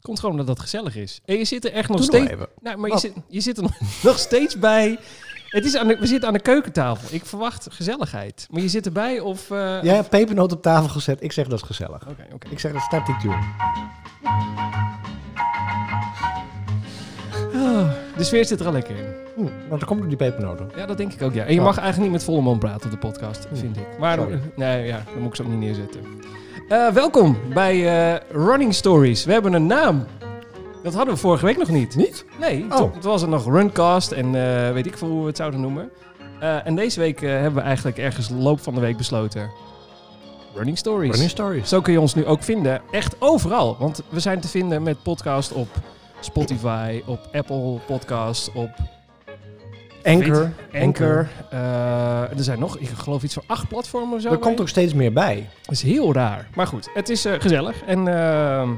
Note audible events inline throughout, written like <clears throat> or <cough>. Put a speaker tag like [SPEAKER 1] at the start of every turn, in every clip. [SPEAKER 1] Komt gewoon omdat dat gezellig is. En je zit er echt nog
[SPEAKER 2] Doe nog
[SPEAKER 1] steeds...
[SPEAKER 2] even.
[SPEAKER 1] nou, maar je
[SPEAKER 2] Wat?
[SPEAKER 1] zit, je zit er nog- <laughs> nog steeds bij... Het is aan de, we zitten aan de keukentafel. Ik verwacht gezelligheid. Maar je zit erbij of... eh,
[SPEAKER 2] Jij hebt pepernoot op tafel gezet. Ik zeg dat is gezellig.
[SPEAKER 1] Oké, oké.
[SPEAKER 2] Ik zeg dat start die tune.
[SPEAKER 1] De sfeer zit er al lekker in.
[SPEAKER 2] Hm, nou, dan komt er die pepernoten.
[SPEAKER 1] Ja, dat denk ik ook, ja. En je
[SPEAKER 2] Oh.
[SPEAKER 1] mag eigenlijk niet met volle mond praten op de podcast, vind ik. Maar
[SPEAKER 2] Sorry.
[SPEAKER 1] <laughs> nee, ja, dan moet ik ze ook niet neerzetten. Eh, welkom bij eh, Running Stories. We hebben een naam. Dat hadden we vorige week nog niet.
[SPEAKER 2] Niet?
[SPEAKER 1] Nee,
[SPEAKER 2] Oh.
[SPEAKER 1] toen, toen was het nog Runcast en eh, weet ik veel hoe we het zouden noemen. Eh, en deze week eh, hebben we eigenlijk ergens loop van de week besloten. Running Stories.
[SPEAKER 2] Running Stories.
[SPEAKER 1] Zo kun je ons nu ook vinden. Echt overal. Want we zijn te vinden met podcast op Spotify, op Apple Podcasts, op
[SPEAKER 2] Anchor.
[SPEAKER 1] Anchor. Eh, er zijn nog, ik geloof iets van acht platformen of zo.
[SPEAKER 2] Er komt ook steeds meer bij.
[SPEAKER 1] Dat is heel raar. Maar goed, het is eh, gezellig. En ehm,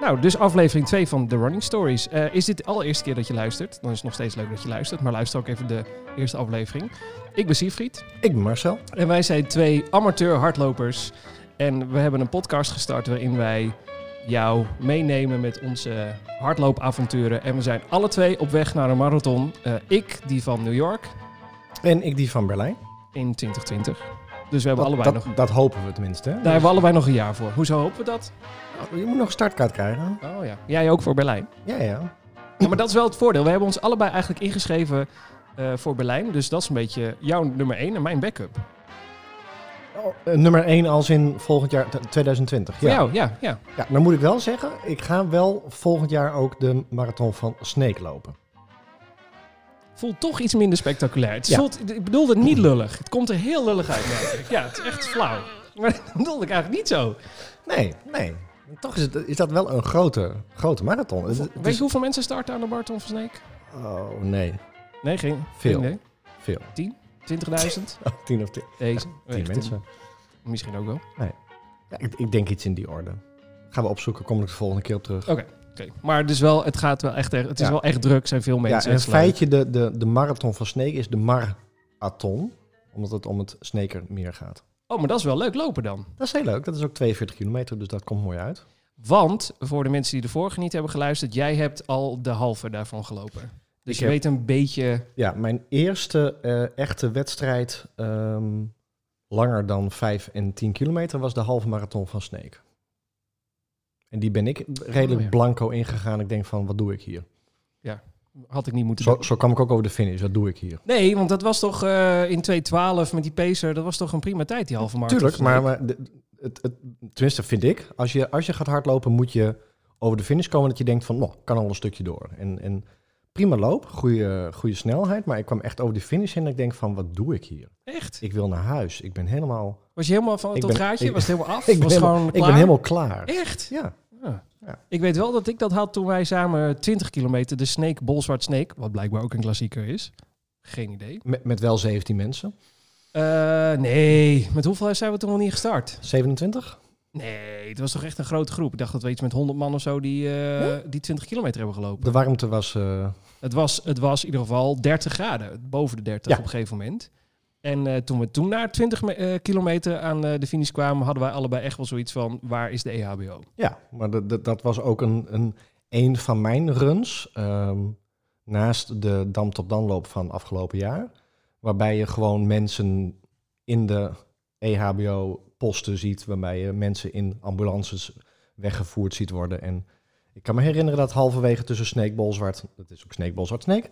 [SPEAKER 1] nou, dus aflevering 2 van The Running Stories. Eh, is dit de allereerste keer dat je luistert? Dan is het nog steeds leuk dat je luistert. Maar luister ook even de eerste aflevering. Ik ben Siegfried.
[SPEAKER 2] Ik ben Marcel.
[SPEAKER 1] En wij zijn twee amateur hardlopers. En we hebben een podcast gestart waarin wij jou meenemen met onze hardloopavonturen. En we zijn alle twee op weg naar een marathon. Eh, ik, die van New York,
[SPEAKER 2] En ik die van Berlijn.
[SPEAKER 1] in 2020. Dus we hebben, allebei,
[SPEAKER 2] dat,
[SPEAKER 1] nog,
[SPEAKER 2] dat hopen we tenminste. hè?
[SPEAKER 1] daar hebben we allebei nog een jaar voor. Hoezo hopen we dat?
[SPEAKER 2] Je moet nog een startkaart krijgen.
[SPEAKER 1] Oh ja, jij ook voor Berlijn.
[SPEAKER 2] Ja, ja.
[SPEAKER 1] Ja, maar dat is wel het voordeel. We hebben ons allebei eigenlijk ingeschreven eh, voor Berlijn. Dus dat is een beetje jouw nummer 1 en mijn backup.
[SPEAKER 2] Oh, eh, nummer 1 als in volgend jaar t- 2020.
[SPEAKER 1] Voor
[SPEAKER 2] Ja.
[SPEAKER 1] jou, ja. ja.
[SPEAKER 2] ja, dan moet ik wel zeggen, ik ga wel volgend jaar ook de marathon van Sneek lopen.
[SPEAKER 1] Voelt toch iets minder spectaculair. Het
[SPEAKER 2] Ja.
[SPEAKER 1] voelt, ik bedoelde het niet lullig. Het komt er heel lullig uit, merk ik. Ja, het is echt flauw. Maar dat bedoelde ik eigenlijk niet zo.
[SPEAKER 2] Nee, nee. Toch is, het, is dat wel een grote, grote marathon. Het- het
[SPEAKER 1] Weet
[SPEAKER 2] is-
[SPEAKER 1] je hoeveel mensen starten aan de Barton van Sneek?
[SPEAKER 2] Oh, nee.
[SPEAKER 1] Nee, geen.
[SPEAKER 2] Veel.
[SPEAKER 1] Nee,
[SPEAKER 2] Veel. <laughs>
[SPEAKER 1] 20.000?
[SPEAKER 2] Oh, tien of tien,
[SPEAKER 1] Deze.
[SPEAKER 2] tien
[SPEAKER 1] Echt,
[SPEAKER 2] mensen.
[SPEAKER 1] Misschien ook wel.
[SPEAKER 2] Ja, ik, ik denk iets in die orde. Gaan we opzoeken, kom ik de volgende keer op terug.
[SPEAKER 1] Oké. oké. Maar dus wel, het gaat wel echt. erg- Het is
[SPEAKER 2] Ja.
[SPEAKER 1] wel echt druk. Er zijn veel
[SPEAKER 2] Ja,
[SPEAKER 1] mensen.
[SPEAKER 2] en het
[SPEAKER 1] het is leuk.
[SPEAKER 2] feitje, de, de, de marathon van Sneek is de marathon. Omdat het om het Sneekermeer gaat.
[SPEAKER 1] Oh, maar dat is wel leuk lopen dan.
[SPEAKER 2] Dat is heel leuk. Dat is ook 42 kilometer, dus dat komt mooi uit.
[SPEAKER 1] Want voor de mensen die de vorige niet hebben geluisterd, jij hebt al de halve daarvan gelopen. Dus je
[SPEAKER 2] Ik heb-
[SPEAKER 1] weet een beetje.
[SPEAKER 2] Ja, mijn eerste eh, echte wedstrijd ehm, langer dan 5 en 10 kilometer was de halve marathon van Sneek. En die ben ik redelijk
[SPEAKER 1] Oh, ja.
[SPEAKER 2] blanco ingegaan. Ik denk van, wat doe ik hier?
[SPEAKER 1] Had ik niet moeten
[SPEAKER 2] Zo,
[SPEAKER 1] doen.
[SPEAKER 2] zo kwam ik ook over de finish. Wat doe ik hier?
[SPEAKER 1] Nee, want dat was toch eh, in 2.12 met die pacer. Dat was toch een prima tijd, die halve marathon.
[SPEAKER 2] Tuurlijk, maar, maar de- het, het, tenminste vind ik, als je, als je gaat hardlopen moet je over de finish komen dat je denkt van, nou, ik kan al een stukje door. En, en prima loop, goede, goede snelheid, maar ik kwam echt over de finish heen en ik denk van, wat doe ik hier?
[SPEAKER 1] Echt?
[SPEAKER 2] Ik wil naar huis, ik ben helemaal, <laughs>
[SPEAKER 1] Was je helemaal van
[SPEAKER 2] Ik
[SPEAKER 1] dat
[SPEAKER 2] ben-
[SPEAKER 1] gaatje?
[SPEAKER 2] ik-
[SPEAKER 1] was het helemaal af?
[SPEAKER 2] <laughs> ik ben
[SPEAKER 1] was
[SPEAKER 2] helemaal,
[SPEAKER 1] gewoon
[SPEAKER 2] ik ben
[SPEAKER 1] klaar?
[SPEAKER 2] helemaal klaar.
[SPEAKER 1] Echt?
[SPEAKER 2] Ja,
[SPEAKER 1] Ja.
[SPEAKER 2] Ja.
[SPEAKER 1] Ik weet wel dat ik dat had toen wij samen 20 kilometer de Snake, Bolzwart Snake, wat blijkbaar ook een klassieker is. Geen idee.
[SPEAKER 2] met, met wel 17 mensen.
[SPEAKER 1] Eh, nee, met hoeveel zijn we toen nog niet gestart?
[SPEAKER 2] 27?
[SPEAKER 1] Nee, het was toch echt een grote groep. Ik dacht dat we iets met 100 man of zo die, eh, die 20 kilometer hebben gelopen.
[SPEAKER 2] De warmte was, eh,
[SPEAKER 1] Het was, het was in ieder geval 30 graden, boven de 30
[SPEAKER 2] Ja.
[SPEAKER 1] op een gegeven moment. En eh, toen we toen naar 20 me- eh, kilometer aan eh, de finish kwamen, hadden wij allebei echt wel zoiets van, waar is de E EHBO?
[SPEAKER 2] ja, maar dat- dat- dat was ook een, een, een van mijn runs. ehm, naast de Dam tot Dan loop van afgelopen jaar. Waarbij je gewoon mensen in de E EHBO-posten ziet. Waarbij je mensen in ambulances weggevoerd ziet worden. En ik kan me herinneren dat halverwege tussen Sneekbolzwart, dat is ook Sneekbolzwart Sneek,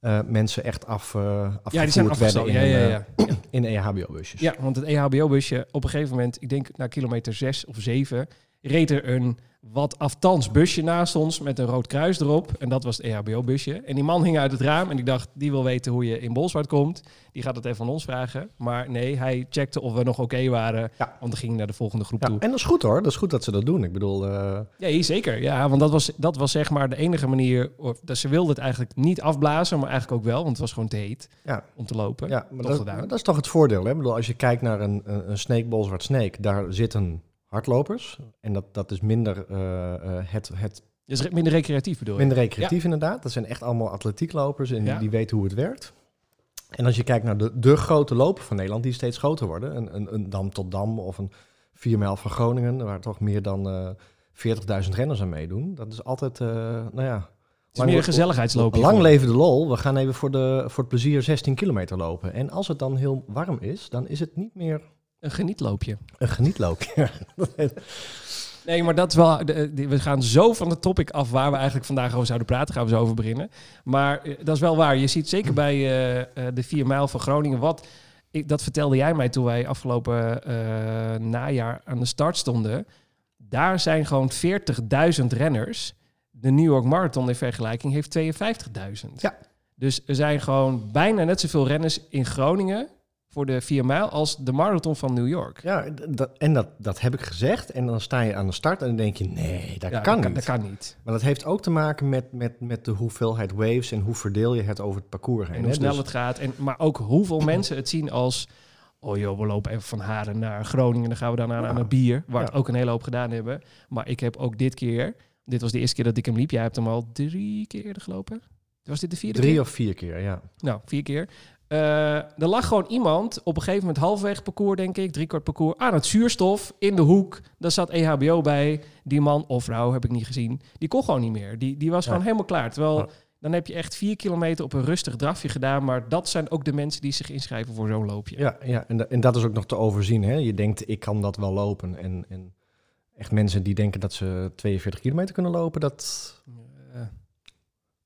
[SPEAKER 2] eh, mensen echt af, eh afgevoerd
[SPEAKER 1] Ja, die zijn
[SPEAKER 2] werden
[SPEAKER 1] afgestoken.
[SPEAKER 2] in,
[SPEAKER 1] Ja, ja,
[SPEAKER 2] eh,
[SPEAKER 1] ja.
[SPEAKER 2] in EHBO-busjes.
[SPEAKER 1] ja, want het E EHBO-busje, op een gegeven moment, ik denk na kilometer 6 of 7, reed er een wat aftans busje naast ons met een rood kruis erop. En dat was het E EHBO-busje. En die man hing uit het raam en ik dacht, die wil weten hoe je in Bolsward komt. Die gaat het even aan ons vragen. Maar nee, hij checkte of we nog oké waren,
[SPEAKER 2] Ja.
[SPEAKER 1] want dan ging hij naar de volgende groep
[SPEAKER 2] Ja,
[SPEAKER 1] toe.
[SPEAKER 2] en dat is goed hoor. Dat is goed dat ze dat doen. Ik bedoel, eh,
[SPEAKER 1] Nee, zeker. Ja, want dat was, dat was zeg maar de enige manier. Of, dat ze wilde het eigenlijk niet afblazen, maar eigenlijk ook wel, want het was gewoon te heet
[SPEAKER 2] Ja.
[SPEAKER 1] om te lopen.
[SPEAKER 2] ja, maar
[SPEAKER 1] Toch
[SPEAKER 2] dat,
[SPEAKER 1] gedaan.
[SPEAKER 2] maar dat is toch het voordeel. Hè? Ik bedoel, als je kijkt naar een, een, een sneekbol zwart sneek, daar zitten hardlopers. En dat, dat is minder, eh, eh, het, het,
[SPEAKER 1] Dus re- minder recreatief bedoel je?
[SPEAKER 2] minder recreatief inderdaad. Dat zijn echt allemaal atletieklopers en die-
[SPEAKER 1] Ja.
[SPEAKER 2] die weten hoe het werkt. En als je kijkt naar de, de grote lopen van Nederland, die steeds groter worden. Een, een, een dam tot dam of een 4 mijl van Groningen, waar toch meer dan eh 40.000 renners aan meedoen. Dat is altijd, eh, nou ja...
[SPEAKER 1] Het is meer een gezelligheidsloopje.
[SPEAKER 2] Lang
[SPEAKER 1] voor.
[SPEAKER 2] leven de lol. We gaan even voor, de, voor het plezier 16 kilometer lopen. En als het dan heel warm is, dan is het niet meer
[SPEAKER 1] Een genietloopje.
[SPEAKER 2] een
[SPEAKER 1] <laughs>
[SPEAKER 2] genietloopje.
[SPEAKER 1] Nee, maar dat is wel. de- de- We gaan zo van het topic af waar we eigenlijk vandaag over zouden praten. Gaan we zo over beginnen. Maar eh, dat is wel waar. Je ziet zeker bij eh, eh, de 4 mijl van Groningen. Wat. Ik, dat vertelde jij mij toen wij afgelopen eh, najaar aan de start stonden. Daar zijn gewoon 40.000 renners. De New York Marathon in vergelijking heeft 52.000.
[SPEAKER 2] Ja.
[SPEAKER 1] Dus er zijn gewoon bijna net zoveel renners in Groningen voor de 4 mijl als de marathon van New York.
[SPEAKER 2] ja, d- dat, en dat, dat heb ik gezegd. En dan sta je aan de start en dan denk je, nee, dat
[SPEAKER 1] Ja,
[SPEAKER 2] kan niet.
[SPEAKER 1] Dat kan niet.
[SPEAKER 2] Maar dat heeft ook te maken met, met, met de hoeveelheid waves en hoe verdeel je het over het parcours heen.
[SPEAKER 1] En hoe
[SPEAKER 2] hè.
[SPEAKER 1] snel
[SPEAKER 2] Dus-
[SPEAKER 1] het gaat. En, maar ook
[SPEAKER 2] <clears throat>
[SPEAKER 1] hoeveel mensen het zien als... Oh joh, we lopen even van Haren naar Groningen. Dan gaan we daarna
[SPEAKER 2] Ja.
[SPEAKER 1] aan het bier. Waar
[SPEAKER 2] Ja.
[SPEAKER 1] het ook een hele hoop gedaan hebben. Maar ik heb ook dit keer... Dit was de eerste keer dat ik hem liep. Jij hebt hem al drie keer eerder gelopen. Was dit de vierde keer?
[SPEAKER 2] Drie of vier keer, ja.
[SPEAKER 1] Nou, vier keer. Eh, er lag gewoon iemand op een gegeven moment halfweg parcours, denk ik, driekwart parcours, aan het zuurstof in de hoek. Daar zat E EHBO bij. Die man of vrouw, heb ik niet gezien. Die kon gewoon niet meer. Die, die was
[SPEAKER 2] Ja.
[SPEAKER 1] gewoon helemaal klaar. Terwijl,
[SPEAKER 2] Ja.
[SPEAKER 1] dan heb je echt vier kilometer op een rustig drafje gedaan. Maar dat zijn ook de mensen die zich inschrijven voor zo'n loopje.
[SPEAKER 2] Ja, ja en, da- en dat is ook nog te overzien. Hè? Je denkt, ik kan dat wel lopen. En, en echt mensen die denken dat ze 42 kilometer kunnen lopen, dat...
[SPEAKER 1] Eh,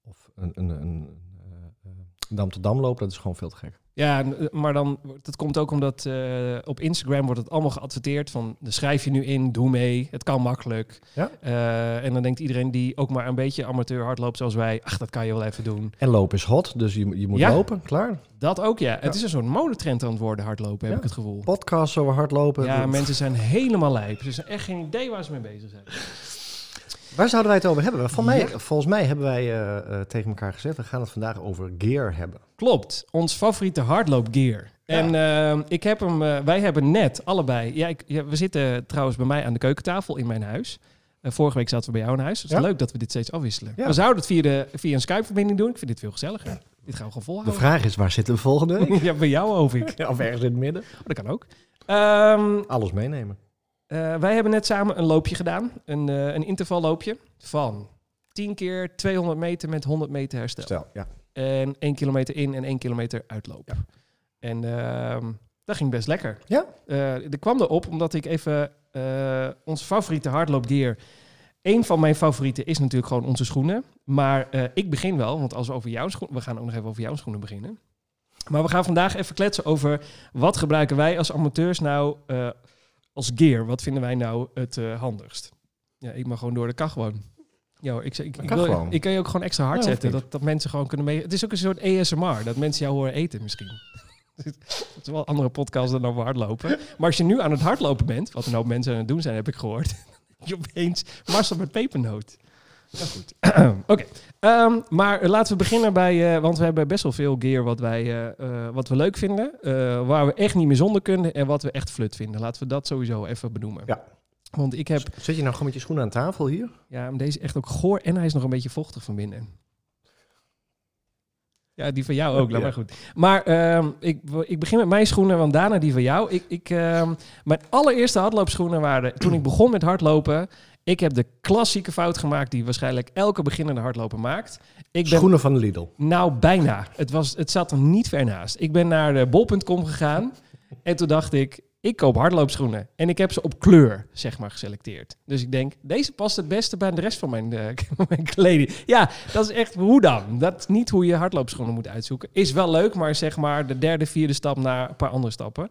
[SPEAKER 2] Of een, een, een eh, eh, dam tot dam lopen, dat is gewoon veel te gek.
[SPEAKER 1] Ja, en, eh, maar dan, dat komt ook omdat eh, op Instagram wordt het allemaal geadverteerd van dan schrijf je nu in, doe mee, het kan makkelijk.
[SPEAKER 2] Ja.
[SPEAKER 1] Eh, en dan denkt iedereen die ook maar een beetje amateur hardloopt zoals wij, ach dat kan je wel even doen.
[SPEAKER 2] En lopen is hot, dus je, je moet
[SPEAKER 1] Ja.
[SPEAKER 2] lopen, klaar.
[SPEAKER 1] Dat ook ja, het
[SPEAKER 2] Ja.
[SPEAKER 1] is een soort modetrend aan het worden hardlopen heb
[SPEAKER 2] Ja. eh,
[SPEAKER 1] ik het gevoel.
[SPEAKER 2] Podcasts over hardlopen.
[SPEAKER 1] Ja,
[SPEAKER 2] dat-
[SPEAKER 1] mensen zijn helemaal lijp. Ze zijn echt geen idee waar ze mee bezig zijn.
[SPEAKER 2] Waar zouden wij het over hebben? Van mij,
[SPEAKER 1] Ja.
[SPEAKER 2] Volgens mij hebben wij eh, eh, tegen elkaar gezegd, we gaan het vandaag over gear hebben.
[SPEAKER 1] Klopt, ons favoriete hardloopgear. En ehm, ik heb hem, eh, wij hebben net allebei. Ja, ik, ja, we zitten trouwens bij mij aan de keukentafel in mijn huis. Eh, vorige week zaten we bij jou in huis. Dus
[SPEAKER 2] Ja.
[SPEAKER 1] leuk dat we dit steeds afwisselen.
[SPEAKER 2] Ja.
[SPEAKER 1] We zouden het via, de, via een Skype-verbinding doen. Ik vind dit veel gezelliger. Dit gaan we gewoon
[SPEAKER 2] De
[SPEAKER 1] volhouden.
[SPEAKER 2] vraag is, waar zitten we volgende
[SPEAKER 1] <laughs>
[SPEAKER 2] week?
[SPEAKER 1] ja, bij jou over ik.
[SPEAKER 2] <laughs> Ja, of ergens in het midden.
[SPEAKER 1] Oh, dat kan ook. Ehm,
[SPEAKER 2] Alles meenemen.
[SPEAKER 1] eh, wij hebben net samen een loopje gedaan. Een, eh, een intervalloopje van 10 keer 200 meter met 100 meter herstel.
[SPEAKER 2] Stel, ja.
[SPEAKER 1] En 1 kilometer in en 1 kilometer uitlopen. En ehm, dat ging best lekker.
[SPEAKER 2] Ja.
[SPEAKER 1] Eh, er kwam erop omdat ik even eh ons favoriete hardloopgear... Een van mijn favorieten is natuurlijk gewoon onze schoenen. Maar eh, ik begin wel, want als we over jouw schoenen... We gaan ook nog even over jouw schoenen beginnen. Maar we gaan vandaag even kletsen over... wat gebruiken wij als amateurs nou eh, als gear? Wat vinden wij nou het eh, handigst? Ja, ik mag gewoon door de kach gewoon. Ja, hoor, ik, ik,
[SPEAKER 2] Dat
[SPEAKER 1] ik,
[SPEAKER 2] kan
[SPEAKER 1] wil,
[SPEAKER 2] gewoon.
[SPEAKER 1] ik kan je ook gewoon extra hard
[SPEAKER 2] Ja, hoeft
[SPEAKER 1] zetten.
[SPEAKER 2] niet.
[SPEAKER 1] Dat, dat mensen gewoon kunnen mee... Het is ook een soort ASMR, dat mensen jou horen eten misschien. <laughs> Het is wel een andere podcast dan over hardlopen. Maar als je nu aan het hardlopen bent, wat een hoop mensen aan het doen zijn, heb ik gehoord. <laughs> je opeens Marcel met pepernoot. Nou goed. <clears throat> Oké. Ehm, maar laten we beginnen bij, eh, want we hebben best wel veel gear wat, wij, eh, eh, wat we leuk vinden. eh, waar we echt niet meer zonder kunnen en wat we echt flut vinden. Laten we dat sowieso even benoemen.
[SPEAKER 2] Ja.
[SPEAKER 1] Want ik heb,
[SPEAKER 2] Zit je nou gewoon met je schoenen aan tafel hier?
[SPEAKER 1] ja, maar deze is echt ook goor en hij is nog een beetje vochtig van binnen. Ja, die van jou ook, laat
[SPEAKER 2] Ja.
[SPEAKER 1] maar goed. Maar ehm, ik, ik begin met mijn schoenen, want daarna die van jou. Ik, ik, ehm, mijn allereerste hardloopschoenen waren, toen ik begon met hardlopen... Ik heb de klassieke fout gemaakt die waarschijnlijk elke beginnende hardloper maakt. Ik ben
[SPEAKER 2] Schoenen van de Lidl.
[SPEAKER 1] nou, bijna. Het, was, het zat er niet ver naast. Ik ben naar eh, bol.com gegaan en toen dacht ik, ik koop hardloopschoenen. En ik heb ze op kleur, zeg maar, geselecteerd. Dus ik denk, deze past het beste bij de rest van mijn, eh, <laughs> mijn kleding. Ja, dat is echt, hoe dan? Dat is niet hoe je hardloopschoenen moet uitzoeken. Is wel leuk, maar zeg maar de derde, vierde stap naar een paar andere stappen.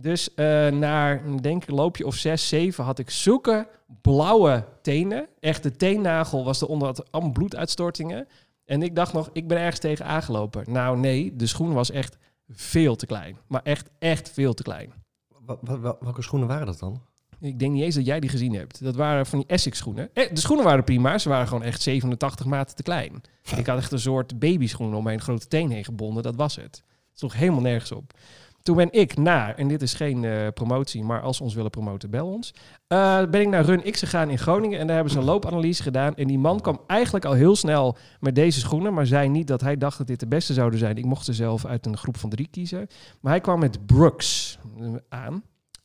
[SPEAKER 1] Dus eh na, ik denk een loopje of zes, zeven had ik zulke blauwe tenen. Echt, de teennagel was eronder, had allemaal bloeduitstortingen. En ik dacht nog, ik ben ergens tegen aangelopen. Nou nee, de schoen was echt veel te klein. Maar echt, echt veel te klein.
[SPEAKER 2] Wa- wa- wa- welke schoenen waren dat dan?
[SPEAKER 1] Ik denk niet eens dat jij die gezien hebt. Dat waren van die Essex schoenen. Eh, De schoenen waren prima, ze waren gewoon echt 87 maten te klein. Ik had echt een soort babyschoen om mijn grote teen heen gebonden, dat was het. Het sloeg helemaal nergens op. Toen ben ik naar, en dit is geen eh, promotie, maar als ze ons willen promoten, bel ons. Eh, ben ik naar Run X gegaan in Groningen en daar hebben ze een loopanalyse gedaan. En die man kwam eigenlijk al heel snel met deze schoenen, maar zei niet dat hij dacht dat dit de beste zouden zijn. Ik mocht ze zelf uit een groep van drie kiezen. Maar hij kwam met Brooks eh, aan.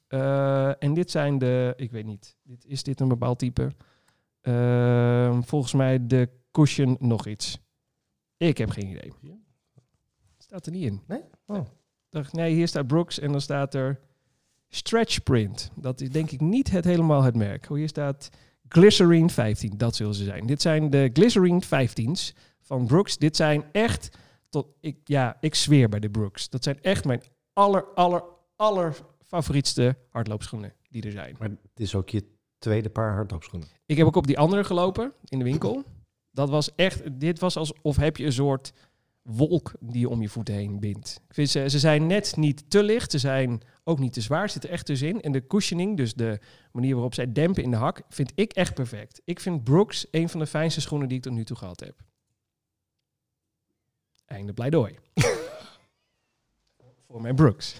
[SPEAKER 1] Eh, en dit zijn de, ik weet niet, dit, is dit een bepaald type? Ehm, volgens mij de cushion nog iets. Ik heb geen idee.
[SPEAKER 2] Hier?
[SPEAKER 1] Staat er niet in.
[SPEAKER 2] Nee? Oh.
[SPEAKER 1] Dacht, nee, hier staat Brooks en dan staat er Stretch Print. Dat is denk ik niet het, helemaal het merk. Oh, hier staat Glycerine 15. Dat zullen ze zijn. Dit zijn de Glycerine 15's van Brooks. Dit zijn echt, tot, ik, ja, ik zweer bij de Brooks. Dat zijn echt mijn aller, aller, aller favorietste hardloopschoenen die er zijn.
[SPEAKER 2] Maar het is ook je tweede paar hardloopschoenen.
[SPEAKER 1] Ik heb ook op die andere gelopen in de winkel. Dat was echt, dit was alsof heb je een soort wolk die je om je voeten heen bindt. Ik vind ze, ze zijn net niet te licht, ze zijn ook niet te zwaar, zit er echt tussenin. En de cushioning, dus de manier waarop zij dempen in de hak, vind ik echt perfect. Ik vind Brooks een van de fijnste schoenen die ik tot nu toe gehad heb. Einde
[SPEAKER 2] <laughs>
[SPEAKER 1] pleidooi. Voor mijn Brooks.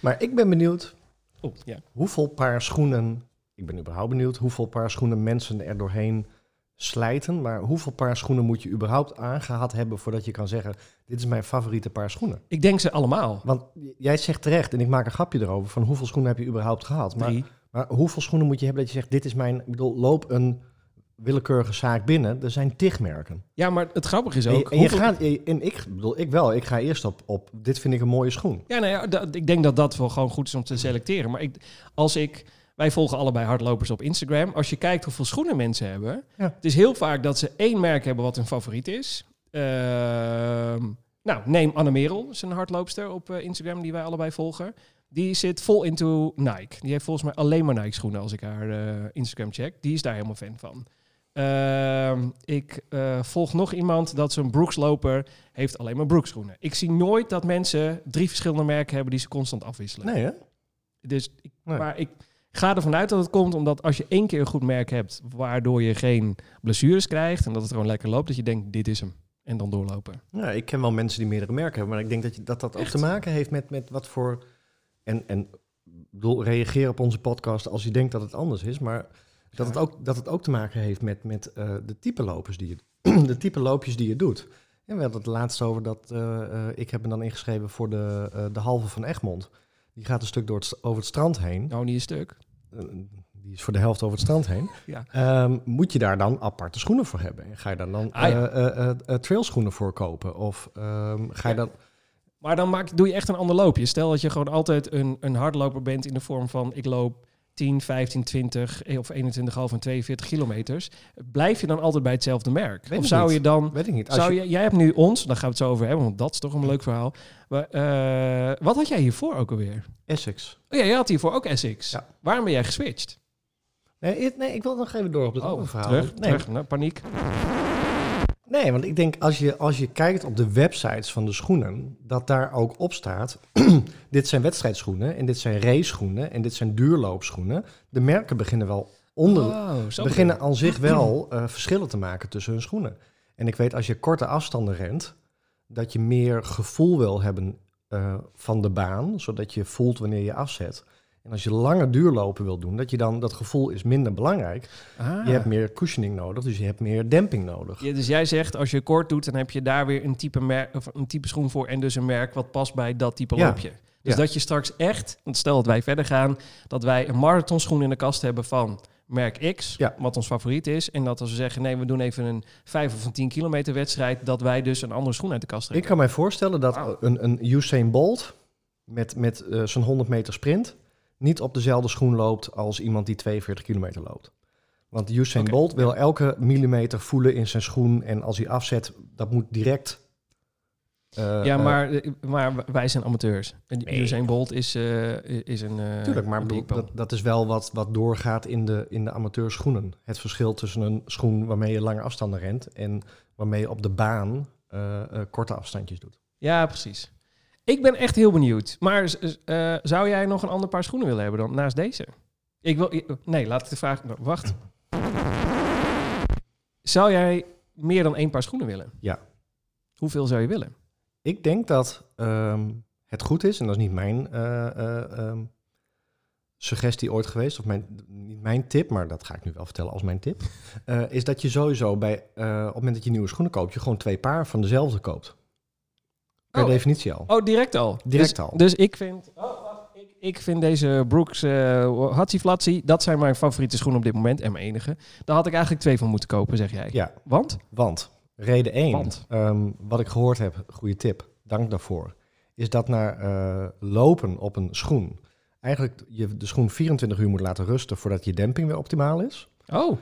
[SPEAKER 2] Maar ik ben benieuwd
[SPEAKER 1] Oh, ja.
[SPEAKER 2] hoeveel paar schoenen... Ik ben überhaupt benieuwd hoeveel paar schoenen mensen er doorheen slijten. Maar hoeveel paar schoenen moet je überhaupt aangehad hebben... voordat je kan zeggen, dit is mijn favoriete paar schoenen.
[SPEAKER 1] Ik denk ze allemaal.
[SPEAKER 2] Want j- jij zegt terecht, en ik maak een grapje erover... van hoeveel schoenen heb je überhaupt gehad. Maar,
[SPEAKER 1] Drie.
[SPEAKER 2] maar hoeveel schoenen moet je hebben dat je zegt... dit is mijn... Ik bedoel, loop een willekeurige zaak binnen. Er zijn tig merken.
[SPEAKER 1] Ja, maar het grappige is
[SPEAKER 2] En,
[SPEAKER 1] ook...
[SPEAKER 2] je- en je
[SPEAKER 1] hoeveel-
[SPEAKER 2] gaat, en ik bedoel, ik wel. Ik ga eerst op, op dit vind ik een mooie schoen.
[SPEAKER 1] Ja, nou ja, dat- ik denk dat dat wel gewoon goed is om te selecteren. Maar ik, als ik, wij volgen allebei hardlopers op Instagram. Als je kijkt hoeveel schoenen mensen hebben,
[SPEAKER 2] Ja.
[SPEAKER 1] het is heel vaak dat ze één merk hebben wat hun favoriet is. Ehm, nou, neem Anne Merel, zijn hardloopster op eh, Instagram die wij allebei volgen. Die zit vol into Nike. Die heeft volgens mij alleen maar Nike schoenen als ik haar eh, Instagram check. Die is daar helemaal fan van. Ehm, ik eh, volg nog iemand dat zijn Brooksloper heeft alleen maar Brooks schoenen. Ik zie nooit dat mensen drie verschillende merken hebben die ze constant afwisselen.
[SPEAKER 2] Nee, hè?
[SPEAKER 1] Dus ik,
[SPEAKER 2] Nee.
[SPEAKER 1] Maar ik ga ervan uit dat het komt omdat als je één keer een goed merk hebt, waardoor je geen blessures krijgt en dat het gewoon lekker loopt, dat je denkt, dit is hem. En dan doorlopen.
[SPEAKER 2] Nou, ik ken wel mensen die meerdere merken hebben, maar ik denk dat je, dat, dat ook
[SPEAKER 1] Echt?
[SPEAKER 2] te maken heeft met, met wat voor. En, en ik bedoel, reageer op onze podcast als je denkt dat het anders is, maar dat, het, ook, dat het ook te maken heeft met, met eh, de type lopers die je, <clears throat> de type loopjes die je doet. En we hadden het laatst over dat eh, eh, ik heb me dan ingeschreven voor de, eh, de halve van Egmond. Die gaat een stuk door het, st- over het strand heen.
[SPEAKER 1] Nou, niet een stuk.
[SPEAKER 2] Eh, die is voor de helft over het strand heen.
[SPEAKER 1] Ja.
[SPEAKER 2] Ehm, moet je daar dan aparte schoenen voor hebben? En ga je daar dan
[SPEAKER 1] Ah, ja.
[SPEAKER 2] eh, eh, eh, eh, trailschoenen voor kopen? Of ehm, ga je
[SPEAKER 1] Ja.
[SPEAKER 2] dan...
[SPEAKER 1] Maar dan maak, doe je echt een ander loopje. Stel dat je gewoon altijd een, een hardloper bent in de vorm van ik loop 10, 15, 20 eh, of 21,5 en 42 kilometers. Blijf je dan altijd bij hetzelfde merk?
[SPEAKER 2] Weet
[SPEAKER 1] of
[SPEAKER 2] ik
[SPEAKER 1] zou
[SPEAKER 2] niet.
[SPEAKER 1] je dan
[SPEAKER 2] Weet ik niet. Als
[SPEAKER 1] Zou
[SPEAKER 2] je,
[SPEAKER 1] je, jij hebt nu ons, daar gaan we het zo over hebben, want dat is toch een leuk verhaal. Maar, eh, wat had jij hiervoor ook alweer?
[SPEAKER 2] Essex.
[SPEAKER 1] Oh ja, jij had hiervoor ook Essex.
[SPEAKER 2] Ja.
[SPEAKER 1] Waarom ben jij geswitcht?
[SPEAKER 2] Nee, ik- nee, ik wil nog even door op dat andere verhaal.
[SPEAKER 1] Oh, terug,
[SPEAKER 2] nee,
[SPEAKER 1] terug, nou, paniek.
[SPEAKER 2] nee, want ik denk als je, als je kijkt op de websites van de schoenen, dat daar ook op staat... <clears throat> dit zijn wedstrijdschoenen en dit zijn raceschoenen en dit zijn duurloopschoenen. De merken beginnen wel onder,
[SPEAKER 1] Oh, zo
[SPEAKER 2] beginnen aan zich wel eh, verschillen te maken tussen hun schoenen. En ik weet, als je korte afstanden rent, dat je meer gevoel wil hebben eh, van de baan, zodat je voelt wanneer je afzet. En als je lange duurlopen wil doen, dat je dan dat gevoel is minder belangrijk.
[SPEAKER 1] bedoel ik.
[SPEAKER 2] Je
[SPEAKER 1] Ah.
[SPEAKER 2] hebt meer cushioning nodig, dus je hebt meer demping nodig.
[SPEAKER 1] Ja, dus jij zegt, als je kort doet, dan heb je daar weer een type, merk, of een type schoen voor en dus een merk wat past bij dat type
[SPEAKER 2] Ja.
[SPEAKER 1] loopje. Dus
[SPEAKER 2] Ja.
[SPEAKER 1] dat je straks echt, want stel dat wij verder gaan, dat wij een marathonschoen in de kast hebben van merk X,
[SPEAKER 2] Ja.
[SPEAKER 1] wat ons favoriet is. En dat als we zeggen, nee, we doen even een 5 of een 10 kilometer wedstrijd, dat wij dus een andere schoen uit de kast
[SPEAKER 2] Ik
[SPEAKER 1] trekken.
[SPEAKER 2] kan mij voorstellen dat
[SPEAKER 1] Wauw.
[SPEAKER 2] een, een Usain Bolt met, met eh, zijn 100 meter sprint niet op dezelfde schoen loopt als iemand die 42 kilometer loopt. Want Usain
[SPEAKER 1] Oké,
[SPEAKER 2] Bolt wil elke millimeter voelen in zijn schoen en als hij afzet, dat moet direct. eh,
[SPEAKER 1] ja,
[SPEAKER 2] eh,
[SPEAKER 1] maar, eh, maar wij zijn amateurs. En
[SPEAKER 2] Nee.
[SPEAKER 1] Usain Bolt is, eh, is een... eh,
[SPEAKER 2] tuurlijk, maar
[SPEAKER 1] een
[SPEAKER 2] bedoel,
[SPEAKER 1] bikpel.
[SPEAKER 2] dat, dat is wel wat, wat doorgaat in de, in de amateurschoenen. Het verschil tussen een schoen waarmee je lange afstanden rent en waarmee je op de baan eh, eh, korte afstandjes doet.
[SPEAKER 1] Ja, precies. Ik ben echt heel benieuwd. Maar z- z- eh, zou jij nog een ander paar schoenen willen hebben dan naast deze? Ik wil. i- Nee, laat ik de vraag. nou, Wacht. Zou jij meer dan één paar schoenen willen?
[SPEAKER 2] Ja.
[SPEAKER 1] Hoeveel zou je willen?
[SPEAKER 2] Ik denk dat ehm, het goed is, en dat is niet mijn eh, eh, ehm, suggestie ooit geweest, of mijn, niet mijn tip, maar dat ga ik nu wel vertellen als mijn tip, <laughs> eh, is dat je sowieso bij, eh, op het moment dat je nieuwe schoenen koopt, je gewoon twee paar van dezelfde koopt. Per
[SPEAKER 1] Oh.
[SPEAKER 2] definitie al.
[SPEAKER 1] Oh, direct al.
[SPEAKER 2] Direct
[SPEAKER 1] Dus-
[SPEAKER 2] al.
[SPEAKER 1] Dus ik vind. Oh, wacht. Ik, Ik vind deze Brooks eh Hatsi Flatsi, dat zijn mijn favoriete schoenen op dit moment en mijn enige. Daar had ik eigenlijk twee van moeten kopen, zeg jij.
[SPEAKER 2] Ja,
[SPEAKER 1] Want?
[SPEAKER 2] want reden 1,
[SPEAKER 1] Want?
[SPEAKER 2] wat ik gehoord heb, goede tip, dank daarvoor, is dat na eh, lopen op een schoen, eigenlijk je de schoen 24 uur moet laten rusten voordat je demping weer optimaal is.
[SPEAKER 1] Oh,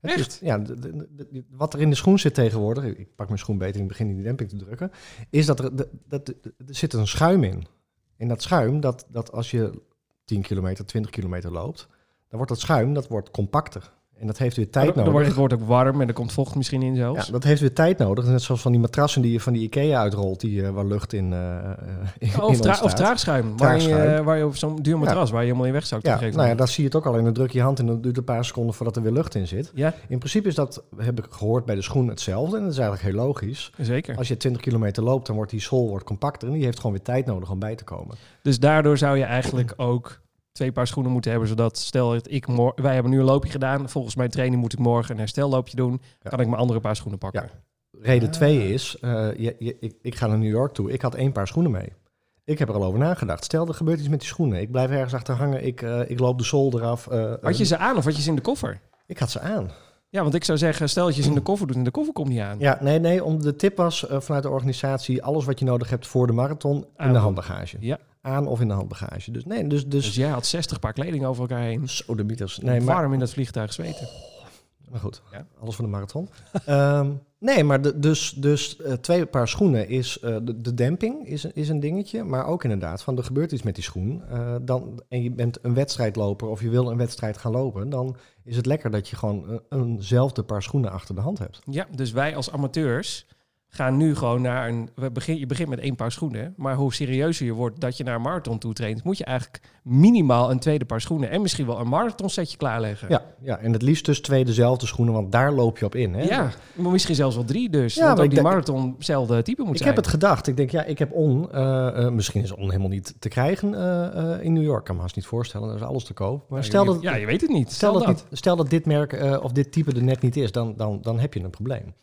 [SPEAKER 2] Het is-
[SPEAKER 1] Echt?
[SPEAKER 2] ja, de- de- de- wat er in de schoen zit tegenwoordig, ik pak mijn schoen beter in het begin in die demping te drukken, is dat er, de- dat, de- er zit een schuim in. En dat schuim, dat, dat als je 10 kilometer, 20 kilometer loopt, dan wordt dat schuim dat wordt compacter. En dat heeft weer tijd
[SPEAKER 1] Oh, dan, dan
[SPEAKER 2] nodig.
[SPEAKER 1] wordt het wordt ook warm en er komt vocht misschien in zelfs.
[SPEAKER 2] Ja, dat heeft weer tijd nodig. Net zoals van die matrassen die je van die IKEA uitrolt, die eh, waar lucht in, eh eh,
[SPEAKER 1] Oh,
[SPEAKER 2] in
[SPEAKER 1] of, tra-
[SPEAKER 2] ontstaat.
[SPEAKER 1] of traagschuim, Waar, je,
[SPEAKER 2] Traagschuim.
[SPEAKER 1] eh, waar je op zo'n duur matras, waar je helemaal in wegzakt. op
[SPEAKER 2] Ja,
[SPEAKER 1] een gegeven
[SPEAKER 2] nou ja, daar zie je het ook al in. Dan druk je je hand en dan duurt het een paar seconden voordat er weer lucht in zit.
[SPEAKER 1] moment.
[SPEAKER 2] In principe is dat, heb ik gehoord, bij de schoen hetzelfde. En dat is eigenlijk heel logisch.
[SPEAKER 1] ja, zeker.
[SPEAKER 2] Als je 20 kilometer loopt, dan wordt die sol wordt compacter en die heeft gewoon weer tijd nodig om bij te komen.
[SPEAKER 1] Dus daardoor zou je eigenlijk ook twee paar schoenen moeten hebben, zodat stel dat ik mor- wij hebben nu een loopje gedaan, volgens mijn training moet ik morgen een herstelloopje doen,
[SPEAKER 2] Ja.
[SPEAKER 1] kan ik mijn andere paar schoenen pakken.
[SPEAKER 2] Ja. Reden
[SPEAKER 1] Ah.
[SPEAKER 2] 2 is, eh, je, je- ik, ik ga naar New York toe, ik had één paar schoenen mee. Ik heb er al over nagedacht. Stel, er gebeurt iets met die schoenen. Ik blijf ergens achter hangen, ik, eh, ik loop de sol eraf. eh,
[SPEAKER 1] Had je
[SPEAKER 2] eh,
[SPEAKER 1] ze aan of had je ze in de koffer?
[SPEAKER 2] Ik had ze aan.
[SPEAKER 1] Ja, want ik zou zeggen, stel dat je ze in de koffer doet en de koffer komt niet aan.
[SPEAKER 2] Ja, nee, nee, om, de tip was eh, vanuit de organisatie, alles wat je nodig hebt voor de marathon, in
[SPEAKER 1] Aan.
[SPEAKER 2] de handbagage.
[SPEAKER 1] Ja.
[SPEAKER 2] Aan of in de handbagage. Dus nee, dus...
[SPEAKER 1] Dus
[SPEAKER 2] dus
[SPEAKER 1] jij had 60 paar kleding over elkaar heen.
[SPEAKER 2] zo de mieters. Nee, maar
[SPEAKER 1] Warm in dat vliegtuig zweten.
[SPEAKER 2] Maar goed,
[SPEAKER 1] Ja.
[SPEAKER 2] alles van de marathon. <laughs> Ehm, nee, maar de- dus, dus eh, twee paar schoenen is... eh, de, de demping is, is een dingetje. Maar ook inderdaad, van er gebeurt iets met die schoen. eh, dan, en je bent een wedstrijdloper of je wil een wedstrijd gaan lopen... dan is het lekker dat je gewoon een- eenzelfde paar schoenen achter de hand hebt.
[SPEAKER 1] Ja, dus wij als amateurs gaan nu gewoon naar een... We begin, je begint met één paar schoenen, maar hoe serieuzer je wordt dat je naar een marathon toe traint, moet je eigenlijk minimaal een tweede paar schoenen en misschien wel een marathon setje klaarleggen.
[SPEAKER 2] Ja, ja en het liefst dus twee dezelfde schoenen, want daar loop je op in. Hè?
[SPEAKER 1] Ja, maar misschien zelfs wel drie dus.
[SPEAKER 2] Ja,
[SPEAKER 1] want
[SPEAKER 2] maar
[SPEAKER 1] ook
[SPEAKER 2] ik
[SPEAKER 1] die
[SPEAKER 2] denk-
[SPEAKER 1] marathon hetzelfde type moet
[SPEAKER 2] Ik
[SPEAKER 1] zijn.
[SPEAKER 2] heb het gedacht. Ik denk, ja, ik heb On. eh, eh, misschien is On helemaal niet te krijgen eh, eh, in New York. Ik kan me haast niet voorstellen. Daar is alles te koop. Maar
[SPEAKER 1] Ja,
[SPEAKER 2] stel
[SPEAKER 1] je weet-
[SPEAKER 2] dat,
[SPEAKER 1] ja, je weet het niet.
[SPEAKER 2] Stel dat, Dit, stel dat dit merk eh, of dit type er net niet is, dan, dan, dan heb je een probleem.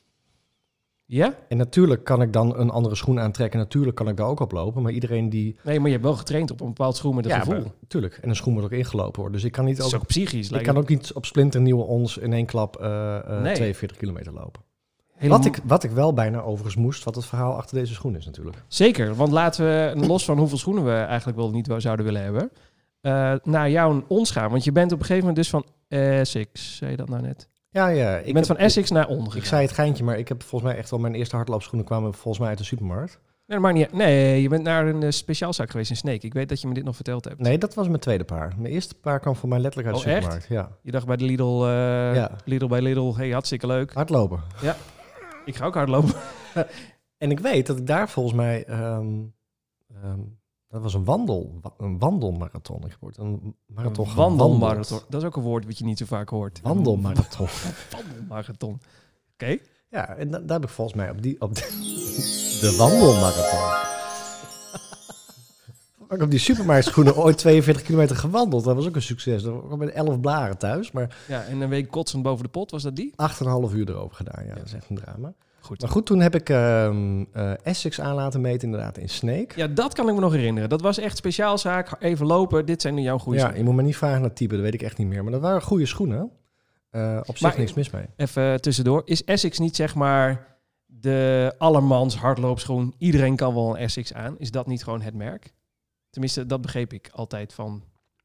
[SPEAKER 1] Ja?
[SPEAKER 2] En natuurlijk kan ik dan een andere schoen aantrekken. Natuurlijk kan ik daar ook op lopen. Maar iedereen die...
[SPEAKER 1] Nee, maar je hebt wel getraind op een bepaald schoen met een gevoel.
[SPEAKER 2] maar- tuurlijk. En een schoen moet ook ingelopen worden. Dus ik kan niet,
[SPEAKER 1] Het is
[SPEAKER 2] ook,
[SPEAKER 1] ook psychisch.
[SPEAKER 2] ik
[SPEAKER 1] lijkt
[SPEAKER 2] kan
[SPEAKER 1] me.
[SPEAKER 2] ook niet op splinternieuwe ons in één klap eh, eh,
[SPEAKER 1] Nee.
[SPEAKER 2] 42 kilometer lopen.
[SPEAKER 1] Helemaal-
[SPEAKER 2] Wat ik, wat ik wel bijna overigens moest, wat het verhaal achter deze schoen is natuurlijk.
[SPEAKER 1] Zeker, want laten we, los van hoeveel schoenen we eigenlijk wel niet zouden willen hebben, eh, naar jou ons gaan. Want je bent op een gegeven moment dus van Essex, zei je dat nou net?
[SPEAKER 2] Ja, ja.
[SPEAKER 1] Je bent
[SPEAKER 2] heb-
[SPEAKER 1] van Essex naar On
[SPEAKER 2] Ik
[SPEAKER 1] gegaan.
[SPEAKER 2] zei het geintje, maar ik heb volgens mij echt wel... Mijn eerste hardloopschoenen kwamen volgens mij uit de supermarkt.
[SPEAKER 1] Nee, maar niet, nee, je bent naar een eh, speciaalzaak geweest in Sneek. Ik weet dat je me dit nog verteld hebt.
[SPEAKER 2] Nee, dat was mijn tweede paar. Mijn eerste paar kwam voor mij letterlijk uit de
[SPEAKER 1] Oh, echt?
[SPEAKER 2] supermarkt. Ja.
[SPEAKER 1] Je dacht bij de Lidl, eh,
[SPEAKER 2] Ja.
[SPEAKER 1] Lidl bij Lidl, hey, hartstikke leuk.
[SPEAKER 2] Hardlopen.
[SPEAKER 1] Ik ga ook hardlopen.
[SPEAKER 2] En ik weet dat ik daar volgens mij. ehm, ehm, dat was een, wandel, wa- een wandelmarathon. Ik heb ooit een marathon
[SPEAKER 1] Een
[SPEAKER 2] gewandeld.
[SPEAKER 1] wandelmarathon. Dat is ook een woord wat je niet zo vaak hoort.
[SPEAKER 2] Wandelmarathon. <laughs>
[SPEAKER 1] Wandelmarathon. Oké.
[SPEAKER 2] ja, en da- daar heb ik volgens mij op die. Op de, de wandelmarathon. <laughs> Heb ik op die supermarktschoenen ooit 42 kilometer gewandeld. Dat was ook een succes. Dat kwam met 11 blaren thuis, maar
[SPEAKER 1] Ja, en een week kotsend boven de pot, was dat die?
[SPEAKER 2] 8,5 uur erover gedaan. Ja, dat is echt een drama.
[SPEAKER 1] Goed.
[SPEAKER 2] Maar goed, toen heb ik ehm, eh, Essex aan laten meten, inderdaad, in Snake.
[SPEAKER 1] Ja, dat kan ik me nog herinneren. Dat was echt speciaalzaak. Even lopen. Dit zijn nu jouw goede
[SPEAKER 2] ja,
[SPEAKER 1] schoenen.
[SPEAKER 2] je moet me niet vragen naar het type, dat weet ik echt niet meer. Maar dat waren goede schoenen. Eh, op zich
[SPEAKER 1] Maar-
[SPEAKER 2] niks mis mee.
[SPEAKER 1] Even tussendoor. Is Essex niet zeg maar de allermans hardloopschoen? Iedereen kan wel een Essex aan. Is dat niet gewoon het merk? Tenminste, dat begreep ik altijd van.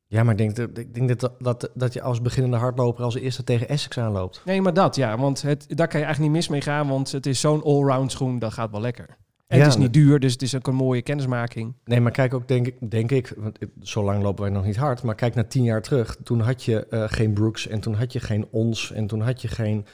[SPEAKER 2] Ja, maar ik denk, dat, ik denk dat, dat, dat je als beginnende hardloper als eerste tegen Essex aanloopt.
[SPEAKER 1] Nee, maar dat ja. Want het, daar kan je eigenlijk niet mis mee gaan. Want het is zo'n allround schoen. Dat gaat wel lekker. En
[SPEAKER 2] Ja,
[SPEAKER 1] het is
[SPEAKER 2] nee.
[SPEAKER 1] niet duur. Dus het is ook een mooie kennismaking.
[SPEAKER 2] Nee, maar kijk ook, denk ik, denk ik want ik- zo lang lopen wij nog niet hard. Maar kijk naar tien jaar terug. Toen had je eh, geen Brooks en toen had je geen Ons en toen had je geen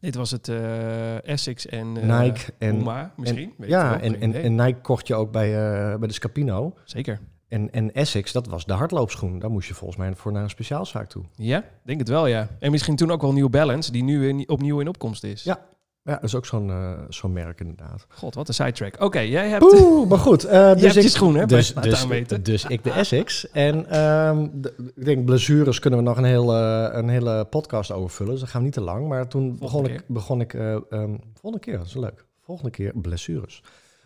[SPEAKER 1] Dit was het eh, Essex en eh,
[SPEAKER 2] Nike. En,
[SPEAKER 1] Puma, misschien. Weet ik
[SPEAKER 2] ja,
[SPEAKER 1] wel,
[SPEAKER 2] en,
[SPEAKER 1] geen
[SPEAKER 2] en,
[SPEAKER 1] idee.
[SPEAKER 2] en Nike kocht je ook bij, eh, bij de Scapino.
[SPEAKER 1] Zeker.
[SPEAKER 2] En, en Essex, dat was de hardloopschoen. Daar moest je volgens mij voor naar een speciaalzaak toe.
[SPEAKER 1] Ja, denk het wel, ja. En misschien toen ook wel New Balance, die nu in, opnieuw in opkomst is.
[SPEAKER 2] Ja. Ja, dat is ook zo'n eh, zo'n merk inderdaad.
[SPEAKER 1] God, wat een sidetrack. Oké, jij hebt...
[SPEAKER 2] Oeh, maar goed. eh, dus
[SPEAKER 1] hebt je
[SPEAKER 2] ik,
[SPEAKER 1] schoen, hè,
[SPEAKER 2] Dus,
[SPEAKER 1] bij-
[SPEAKER 2] dus,
[SPEAKER 1] laat aanmeten.
[SPEAKER 2] dus ik de Essex. En ehm, de- ik denk, blessures kunnen we nog een hele, een hele podcast over vullen. Dus dat gaan we niet te lang. Maar toen begon
[SPEAKER 1] keer.
[SPEAKER 2] ik, begon ik... eh, ehm, volgende keer, dat is leuk. Volgende keer blessures.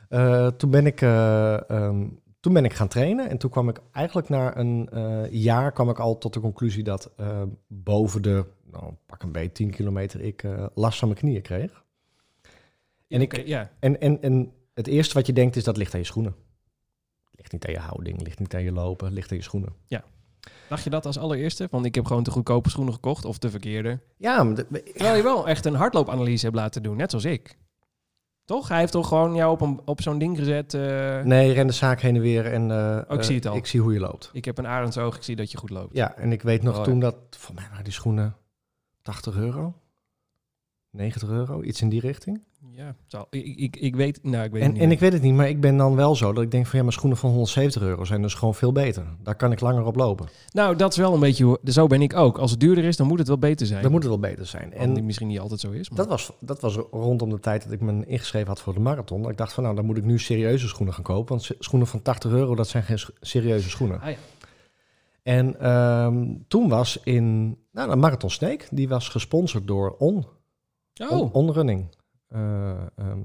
[SPEAKER 2] Eh, toen ben ik... eh, ehm, Toen ben ik gaan trainen en toen kwam ik eigenlijk na een eh, jaar kwam ik al tot de conclusie dat eh, boven de, nou, pak een beetje 10 kilometer, ik eh, last van mijn knieën kreeg. En ik,
[SPEAKER 1] Oké, ja.
[SPEAKER 2] en, en, en het eerste wat je denkt is dat ligt aan je schoenen. Ligt niet aan je houding, ligt niet aan je lopen, ligt aan je schoenen.
[SPEAKER 1] Dacht je dat als allereerste? Want ik heb gewoon te goedkope schoenen gekocht of de verkeerde.
[SPEAKER 2] Ja, maar dat-
[SPEAKER 1] Terwijl je wel echt een hardloopanalyse hebt laten doen, net zoals ik. Toch? Hij heeft toch gewoon jou op, een- op zo'n ding gezet. eh,
[SPEAKER 2] nee, ren de zaak heen en weer en eh,
[SPEAKER 1] Oh, ik zie het al.
[SPEAKER 2] eh, ik zie hoe je loopt.
[SPEAKER 1] Ik heb een arendsoog, ik zie dat je goed loopt.
[SPEAKER 2] Ja, en ik weet nog
[SPEAKER 1] Oh, ja.
[SPEAKER 2] toen dat, voor mij waren die schoenen 80 euro, 90 euro, iets in die richting.
[SPEAKER 1] Ja, zal, ik, ik, ik weet, nou, ik weet het
[SPEAKER 2] En,
[SPEAKER 1] niet.
[SPEAKER 2] en
[SPEAKER 1] meer.
[SPEAKER 2] ik weet het niet, maar ik ben dan wel zo dat ik denk van ja, mijn schoenen van 170 euro zijn dus gewoon veel beter. Daar kan ik langer op lopen.
[SPEAKER 1] Nou, dat is wel een beetje, hoe- zo ben ik ook. Als het duurder is, dan moet het wel beter zijn.
[SPEAKER 2] Dan moet het wel beter zijn.
[SPEAKER 1] en die
[SPEAKER 2] En
[SPEAKER 1] misschien niet altijd zo is. Maar
[SPEAKER 2] dat was, dat was rondom de tijd dat ik me ingeschreven had voor de marathon. Dat ik dacht van nou, dan moet ik nu serieuze schoenen gaan kopen. Want se- schoenen van 80 euro, dat zijn geen s- serieuze schoenen.
[SPEAKER 1] Ah ja.
[SPEAKER 2] En ehm, toen was in, nou, de Marathon Snake, die was gesponsord door On. On,
[SPEAKER 1] Oh,
[SPEAKER 2] onrunning. Eh, ehm,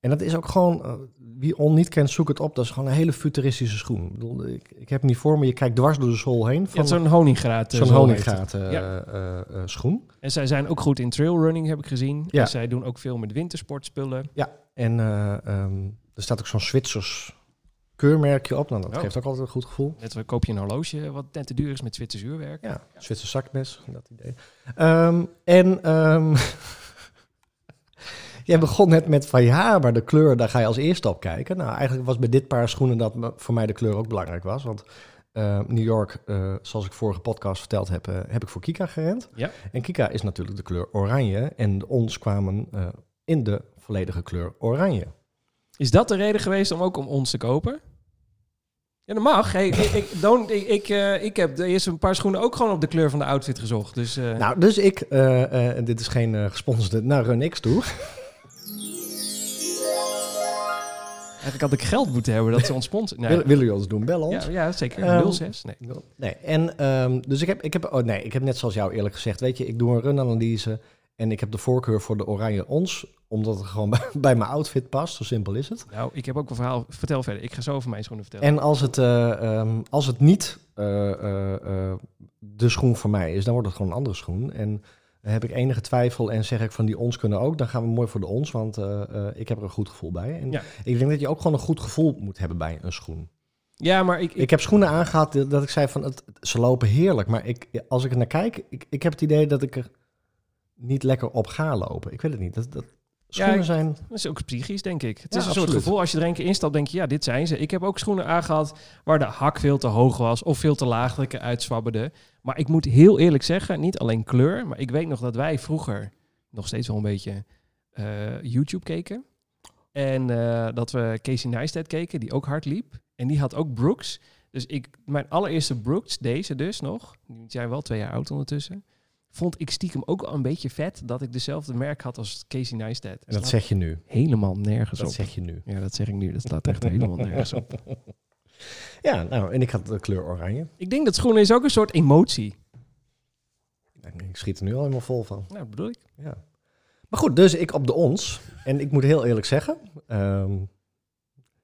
[SPEAKER 2] en dat is ook gewoon, eh, wie On niet kent, zoek het op. Dat is gewoon een hele futuristische schoen. Ik, bedoel, ik, ik heb hem niet voor me, je kijkt dwars door de sol heen.
[SPEAKER 1] ja,
[SPEAKER 2] Van
[SPEAKER 1] zo'n honingraat. eh,
[SPEAKER 2] zo'n
[SPEAKER 1] zo heet
[SPEAKER 2] honingraat eh,
[SPEAKER 1] Ja.
[SPEAKER 2] eh, eh, schoen.
[SPEAKER 1] het. En zij zijn ook goed in trailrunning, heb ik gezien.
[SPEAKER 2] Ja.
[SPEAKER 1] En zij doen ook veel met wintersportspullen.
[SPEAKER 2] En eh, ehm, er staat ook zo'n Zwitsers keurmerkje op. Nou, dat
[SPEAKER 1] Oh.
[SPEAKER 2] geeft ook altijd een goed gevoel.
[SPEAKER 1] Net zo koop je een horloge wat net te duur is met Zwitsers uurwerk.
[SPEAKER 2] Ja, Zwitser zakmes, dat idee. Ehm, en ehm, <laughs> jij begon net met van ja, maar de kleur, daar ga je als eerste op kijken. Nou, eigenlijk was bij dit paar schoenen dat me- voor mij de kleur ook belangrijk was. Want eh, New York, eh, zoals ik vorige podcast verteld heb, eh, heb ik voor Kika gerend.
[SPEAKER 1] Ja.
[SPEAKER 2] En Kika is natuurlijk de kleur oranje. En de ons kwamen eh, in de volledige kleur oranje.
[SPEAKER 1] Is dat de reden geweest om ook om ons te kopen? Ja, dat mag. Hey, ik, ik, don't, ik, ik, eh, ik heb de eerste een paar schoenen ook gewoon op de kleur van de outfit gezocht. Dus eh,
[SPEAKER 2] Nou, dus ik, eh, eh, en dit is geen eh, gesponsorde, naar Runx toe.
[SPEAKER 1] eigenlijk had ik geld moeten hebben dat ze ons sponsoren.
[SPEAKER 2] Wil-
[SPEAKER 1] Nou,
[SPEAKER 2] Willen jullie ons doen? Bel ons.
[SPEAKER 1] ja, ja, zeker.
[SPEAKER 2] Ehm,
[SPEAKER 1] 06? Nee.
[SPEAKER 2] Nee, en ehm, dus ik heb, ik heb, oh nee, ik heb net zoals jou eerlijk gezegd, weet je, ik doe een run-analyse en ik heb de voorkeur voor de oranje ons, omdat het gewoon <laughs> bij, bij mijn outfit past, zo simpel is het.
[SPEAKER 1] Nou, ik heb ook een verhaal. Vertel verder. Ik ga zo over mijn schoenen vertellen.
[SPEAKER 2] En als het, eh, ehm, als het niet eh, eh, eh, de schoen voor mij is, dan wordt het gewoon een andere schoen. En heb ik enige twijfel en zeg ik van die ons kunnen ook, dan gaan we mooi voor de ons, want eh, eh, ik heb er een goed gevoel bij. En
[SPEAKER 1] Ja.
[SPEAKER 2] ik denk dat je ook gewoon een goed gevoel moet hebben bij een schoen.
[SPEAKER 1] ja, maar ik, ik,
[SPEAKER 2] Ik heb schoenen aangehad dat dat ik zei van het, ze lopen heerlijk. Maar ik, als ik er naar kijk, ik, ik heb het idee dat ik er niet lekker op ga lopen. Ik weet het niet. Dat, dat, schoenen
[SPEAKER 1] ik-
[SPEAKER 2] zijn.
[SPEAKER 1] dat is ook psychisch, denk ik. Het
[SPEAKER 2] Ja,
[SPEAKER 1] is een soort
[SPEAKER 2] absoluut.
[SPEAKER 1] gevoel. Als je er een keer instapt, denk je, ja, dit zijn ze. Ik heb ook schoenen aangehad waar de hak veel te hoog was of veel te laag dat ik eruit zwabberde. Maar ik moet heel eerlijk zeggen, niet alleen kleur, maar ik weet nog dat wij vroeger nog steeds wel een beetje eh, YouTube keken. En eh, dat we Casey Neistat keken, die ook hard liep. En die had ook Brooks. Dus ik, mijn allereerste Brooks, deze dus nog, die zijn wel twee jaar oud ondertussen, vond ik stiekem ook al een beetje vet dat ik dezelfde merk had als Casey Neistat.
[SPEAKER 2] En dat zeg je nu.
[SPEAKER 1] helemaal nergens
[SPEAKER 2] Dat
[SPEAKER 1] op.
[SPEAKER 2] zeg je nu.
[SPEAKER 1] Ja, dat zeg ik nu. Dat staat echt helemaal nergens op.
[SPEAKER 2] Ja, nou, en ik had de kleur oranje.
[SPEAKER 1] <laughs> Ik denk dat schoenen is ook een soort emotie.
[SPEAKER 2] Ik ik schiet er nu al helemaal vol van.
[SPEAKER 1] Nou, dat bedoel ik.
[SPEAKER 2] Ja. Maar goed, dus ik op de ons. En ik moet heel eerlijk zeggen. ehm,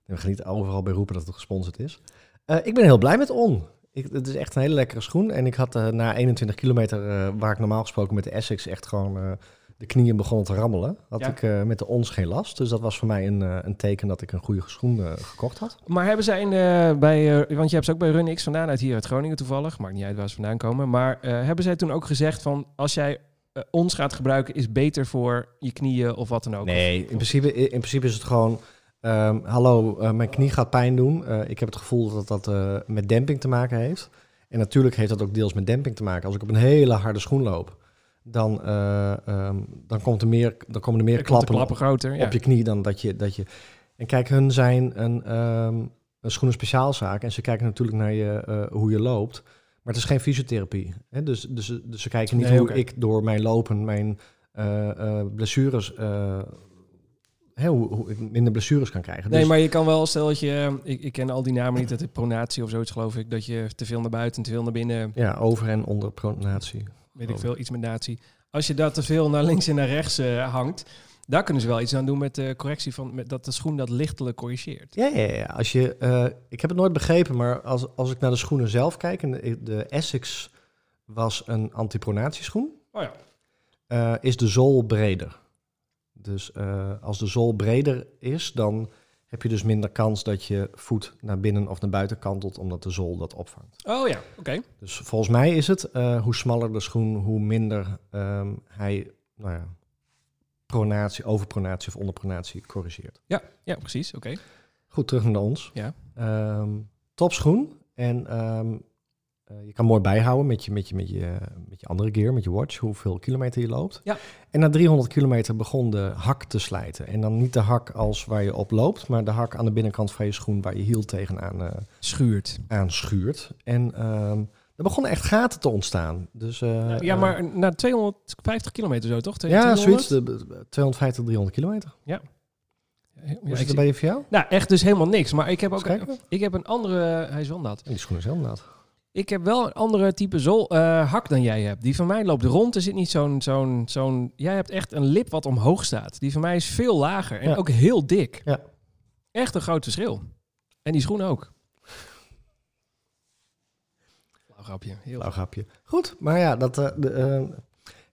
[SPEAKER 2] we gaan niet overal bij roepen dat het gesponsord is. Eh, ik ben heel blij met on. Ik, het is echt een hele lekkere schoen. En ik had eh, na 21 kilometer, eh, waar ik normaal gesproken met de Essex echt gewoon eh, de knieën begonnen te rammelen, had
[SPEAKER 1] Ja.
[SPEAKER 2] ik eh, met de ons geen last. Dus dat was voor mij een, eh, een teken dat ik een goede schoen eh, gekocht had.
[SPEAKER 1] Maar hebben zij in, eh, bij, eh, want je hebt ze ook bij Run X vandaan, uit hier uit Groningen toevallig. Maakt niet uit waar ze vandaan komen. Maar eh, hebben zij toen ook gezegd van, als jij eh, ons gaat gebruiken, is beter voor je knieën of wat dan ook?
[SPEAKER 2] Nee, in principe, in principe is het gewoon... ehm, hallo, eh, mijn knie gaat pijn doen. Eh, ik heb het gevoel dat dat eh, met demping te maken heeft. En natuurlijk heeft dat ook deels met demping te maken. Als ik op een hele harde schoen loop, dan, eh, ehm, dan, komt er meer, dan komen er meer
[SPEAKER 1] Dan komt de
[SPEAKER 2] klappen,
[SPEAKER 1] klappen groter. Ja.
[SPEAKER 2] op je knie dan dat je, dat je... En kijk, hun zijn een, ehm een schoenen speciaalzaak. En ze kijken natuurlijk naar je, eh, hoe je loopt. Maar het is geen fysiotherapie. Hè? Dus, dus, dus ze kijken niet
[SPEAKER 1] Nee,
[SPEAKER 2] hoe
[SPEAKER 1] oké.
[SPEAKER 2] ik door mijn lopen, mijn eh, eh, blessures... eh, hè, hoe, hoe ik minder blessures kan krijgen.
[SPEAKER 1] Nee,
[SPEAKER 2] Dus-
[SPEAKER 1] maar je kan wel, stel dat je, eh, ik, ik ken al die namen niet, dat het pronatie of zoiets geloof ik, dat je te veel naar buiten en te veel naar binnen
[SPEAKER 2] Ja, over en onder pronatie.
[SPEAKER 1] weet ik veel, iets met natie. Als je daar te veel naar links en naar rechts eh, hangt, Daar kunnen ze wel iets aan doen met de correctie van met dat de schoen dat lichtelijk corrigeert.
[SPEAKER 2] Ja, ja, ja. Als je, eh, ik heb het nooit begrepen, maar als, als ik naar de schoenen zelf kijk... En de, de Essex was een antipronatieschoen.
[SPEAKER 1] Oh ja.
[SPEAKER 2] eh, is de zool breder. Dus eh, als de zool breder is, dan heb je dus minder kans dat je voet naar binnen of naar buiten kantelt, omdat de zool dat opvangt.
[SPEAKER 1] Oh ja, oké.
[SPEAKER 2] Dus volgens mij is het, eh, hoe smaller de schoen, hoe minder ehm, hij nou ja, pronatie, overpronatie of onderpronatie corrigeert.
[SPEAKER 1] Ja, ja, precies. Oké.
[SPEAKER 2] Goed, terug naar ons.
[SPEAKER 1] Ja.
[SPEAKER 2] Ehm, topschoen. En ehm, eh, je kan mooi bijhouden met je, met, je, met, je, met je andere gear, met je watch, hoeveel kilometer je loopt.
[SPEAKER 1] Ja.
[SPEAKER 2] En na 300 kilometer begon de hak te slijten. En dan niet de hak als waar je op loopt, maar de hak aan de binnenkant van je schoen waar je hiel tegenaan eh
[SPEAKER 1] Schuurt.
[SPEAKER 2] aan schuurt. En ehm, er begonnen echt gaten te ontstaan. Dus, eh,
[SPEAKER 1] Nou, ja,
[SPEAKER 2] eh,
[SPEAKER 1] maar na 250 kilometer zo, toch?
[SPEAKER 2] ja,
[SPEAKER 1] 200?
[SPEAKER 2] zoiets. de- de- 250, 300 kilometer.
[SPEAKER 1] Ja,
[SPEAKER 2] Hoe
[SPEAKER 1] ik
[SPEAKER 2] zit
[SPEAKER 1] zie-
[SPEAKER 2] het bij je voor jou?
[SPEAKER 1] Nou, echt dus helemaal niks. Maar ik heb ook
[SPEAKER 2] Eens kijken.
[SPEAKER 1] ik heb een andere... Hij is wel nat.
[SPEAKER 2] Die schoenen zijn inderdaad.
[SPEAKER 1] Ik heb wel een andere type zool, eh, hak dan jij hebt. Die van mij loopt rond. Er zit niet zo'n... zo'n, zo'n jij hebt echt een lip wat omhoog staat. Die van mij is veel lager. En
[SPEAKER 2] Ja.
[SPEAKER 1] ook heel dik.
[SPEAKER 2] Ja.
[SPEAKER 1] Echt een groot verschil. En die schoen ook. Flauw grapje. Heel
[SPEAKER 2] Flauw grapje. Goed, maar ja, dat, eh, de, eh,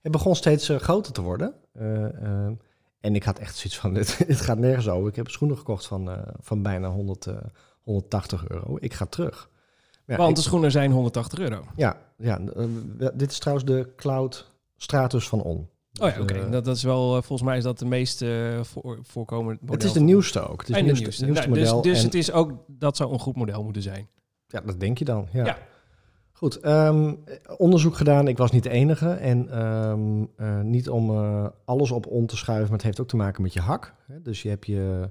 [SPEAKER 2] het begon steeds eh, groter te worden. Eh, eh, en ik had echt zoiets van, <laughs> dit, dit gaat nergens over. Ik heb schoenen gekocht van, eh, van bijna 100, eh, 180 euro. Ik ga terug. Maar ja,
[SPEAKER 1] Want dus- de
[SPEAKER 2] ik-
[SPEAKER 1] schoenen zijn 180 euro. Oh
[SPEAKER 2] ja, ja eh, we- dit is trouwens de Cloud Stratus van On.
[SPEAKER 1] Oh ja, oké.
[SPEAKER 2] Dus, eh,
[SPEAKER 1] dat, dat is wel, eh, volgens mij is dat de meest eh, voor, voorkomende model.
[SPEAKER 2] het is de
[SPEAKER 1] van-
[SPEAKER 2] nieuwste ook. Het is
[SPEAKER 1] en
[SPEAKER 2] het
[SPEAKER 1] de nieuwste.
[SPEAKER 2] nieuwste, nieuwste
[SPEAKER 1] Nou,
[SPEAKER 2] model.
[SPEAKER 1] Dus, dus
[SPEAKER 2] en-
[SPEAKER 1] het is ook, dat zou een goed model moeten zijn.
[SPEAKER 2] Ja, dat denk je dan. Ja.
[SPEAKER 1] Ja.
[SPEAKER 2] Goed, ehm, onderzoek gedaan. Ik was niet de enige. En ehm, eh, niet om eh, alles op on te schuiven, maar het heeft ook te maken met je hak. hè. Dus je hebt je,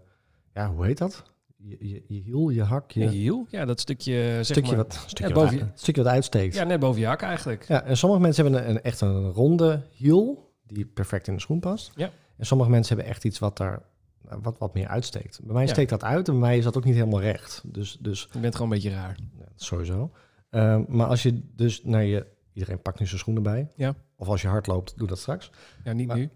[SPEAKER 2] ja, hoe heet dat? Je, je, je hiel, je hak, je
[SPEAKER 1] En je hiel? Ja, dat stukje, zeg
[SPEAKER 2] stukje,
[SPEAKER 1] maar,
[SPEAKER 2] wat, stukje,
[SPEAKER 1] Ja,
[SPEAKER 2] wat,
[SPEAKER 1] boven je-
[SPEAKER 2] uit- stukje wat uitsteekt. Ja.
[SPEAKER 1] Ja, net boven je hak eigenlijk.
[SPEAKER 2] en sommige mensen hebben een, een- echt een ronde hiel, die perfect in de schoen past.
[SPEAKER 1] Ja.
[SPEAKER 2] En sommige mensen hebben echt iets wat daar nou, wat, wat meer uitsteekt. Bij mij
[SPEAKER 1] Ja.
[SPEAKER 2] steekt dat uit en bij mij is dat ook niet helemaal recht. Dus, dus
[SPEAKER 1] Je bent gewoon een beetje raar.
[SPEAKER 2] Ja, dat sowieso. Ehm, maar als je dus naar je... Iedereen pakt nu zijn schoenen bij.
[SPEAKER 1] Ja.
[SPEAKER 2] Of als je hard loopt, doe dat straks.
[SPEAKER 1] Ja, niet
[SPEAKER 2] Maar-
[SPEAKER 1] nu.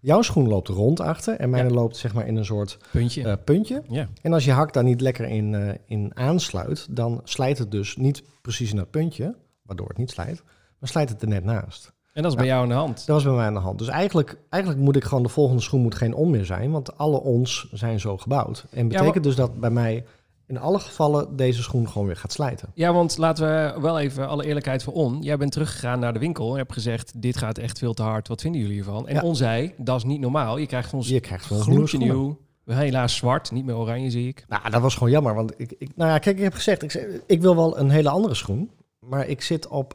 [SPEAKER 2] Jouw schoen loopt rond achter en mijn loopt zeg maar in een soort
[SPEAKER 1] Puntje.
[SPEAKER 2] eh, puntje.
[SPEAKER 1] ja.
[SPEAKER 2] En als je hak daar niet lekker in, eh, in aansluit, dan slijt het dus niet precies in dat puntje, waardoor het niet slijt, maar slijt het er net naast.
[SPEAKER 1] En dat is bij jou aan de hand.
[SPEAKER 2] Dat was bij mij aan de hand. Dus eigenlijk, eigenlijk moet ik gewoon, de volgende schoen moet geen on meer zijn, want alle ons zijn zo gebouwd. En
[SPEAKER 1] maar-
[SPEAKER 2] betekent dus dat bij mij in alle gevallen deze schoen gewoon weer gaat slijten.
[SPEAKER 1] Ja, want laten we wel even alle eerlijkheid voor on. Jij bent teruggegaan naar de winkel en hebt gezegd, dit gaat echt veel te hard. Wat vinden jullie hiervan? En
[SPEAKER 2] Ja.
[SPEAKER 1] on zei, dat is niet normaal. Je krijgt ons
[SPEAKER 2] Je krijgt gewoon nieuwe
[SPEAKER 1] gloedje
[SPEAKER 2] schoenen.
[SPEAKER 1] nieuw. Helaas zwart, niet meer oranje zie ik.
[SPEAKER 2] Nou, dat was gewoon jammer. Want ik, ik, nou ja, kijk, ik heb gezegd, ik, zeg, ik wil wel een hele andere schoen. Maar ik zit op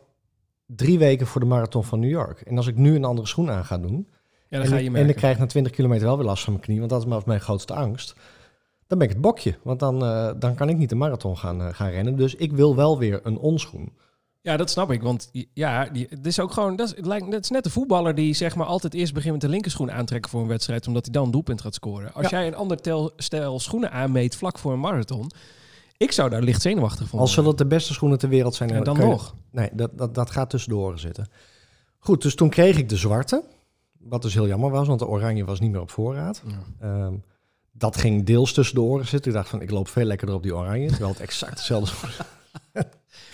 [SPEAKER 2] drie weken voor de marathon van New York. En als ik nu een andere schoen aan ga doen.
[SPEAKER 1] Ja, dan
[SPEAKER 2] en,
[SPEAKER 1] ga
[SPEAKER 2] ik-
[SPEAKER 1] je
[SPEAKER 2] en
[SPEAKER 1] merken.
[SPEAKER 2] ik krijg na 20 kilometer wel weer last van mijn knie. Want dat was mijn grootste angst. Dan ben ik het bokje. Want dan, eh, dan kan ik niet de marathon gaan, eh, gaan rennen. Dus ik wil wel weer een onschoen.
[SPEAKER 1] Ja, dat snap ik. Want ja, die, het is ook gewoon. Dat is, het lijkt, dat is net de voetballer die zeg maar altijd eerst begint met de linkerschoen aantrekken voor een wedstrijd. Omdat hij dan een doelpunt gaat scoren. Als jij een ander tel, stel schoenen aanmeet vlak voor een marathon. Ik zou daar licht zenuwachtig van
[SPEAKER 2] Al zullen
[SPEAKER 1] worden.
[SPEAKER 2] het de beste schoenen ter wereld zijn.
[SPEAKER 1] Oh, En dan
[SPEAKER 2] kun je-
[SPEAKER 1] nog.
[SPEAKER 2] Nee, dat, dat, dat gaat tussendoor zitten. Goed, dus toen kreeg ik de zwarte. Wat dus heel jammer was, want de oranje was niet meer op voorraad.
[SPEAKER 1] Ja.
[SPEAKER 2] Ehm, dat ging deels tussen de oren zitten. Ik dacht van, ik loop veel lekkerder op die oranje. Terwijl het exact
[SPEAKER 1] <laughs>
[SPEAKER 2] hetzelfde is.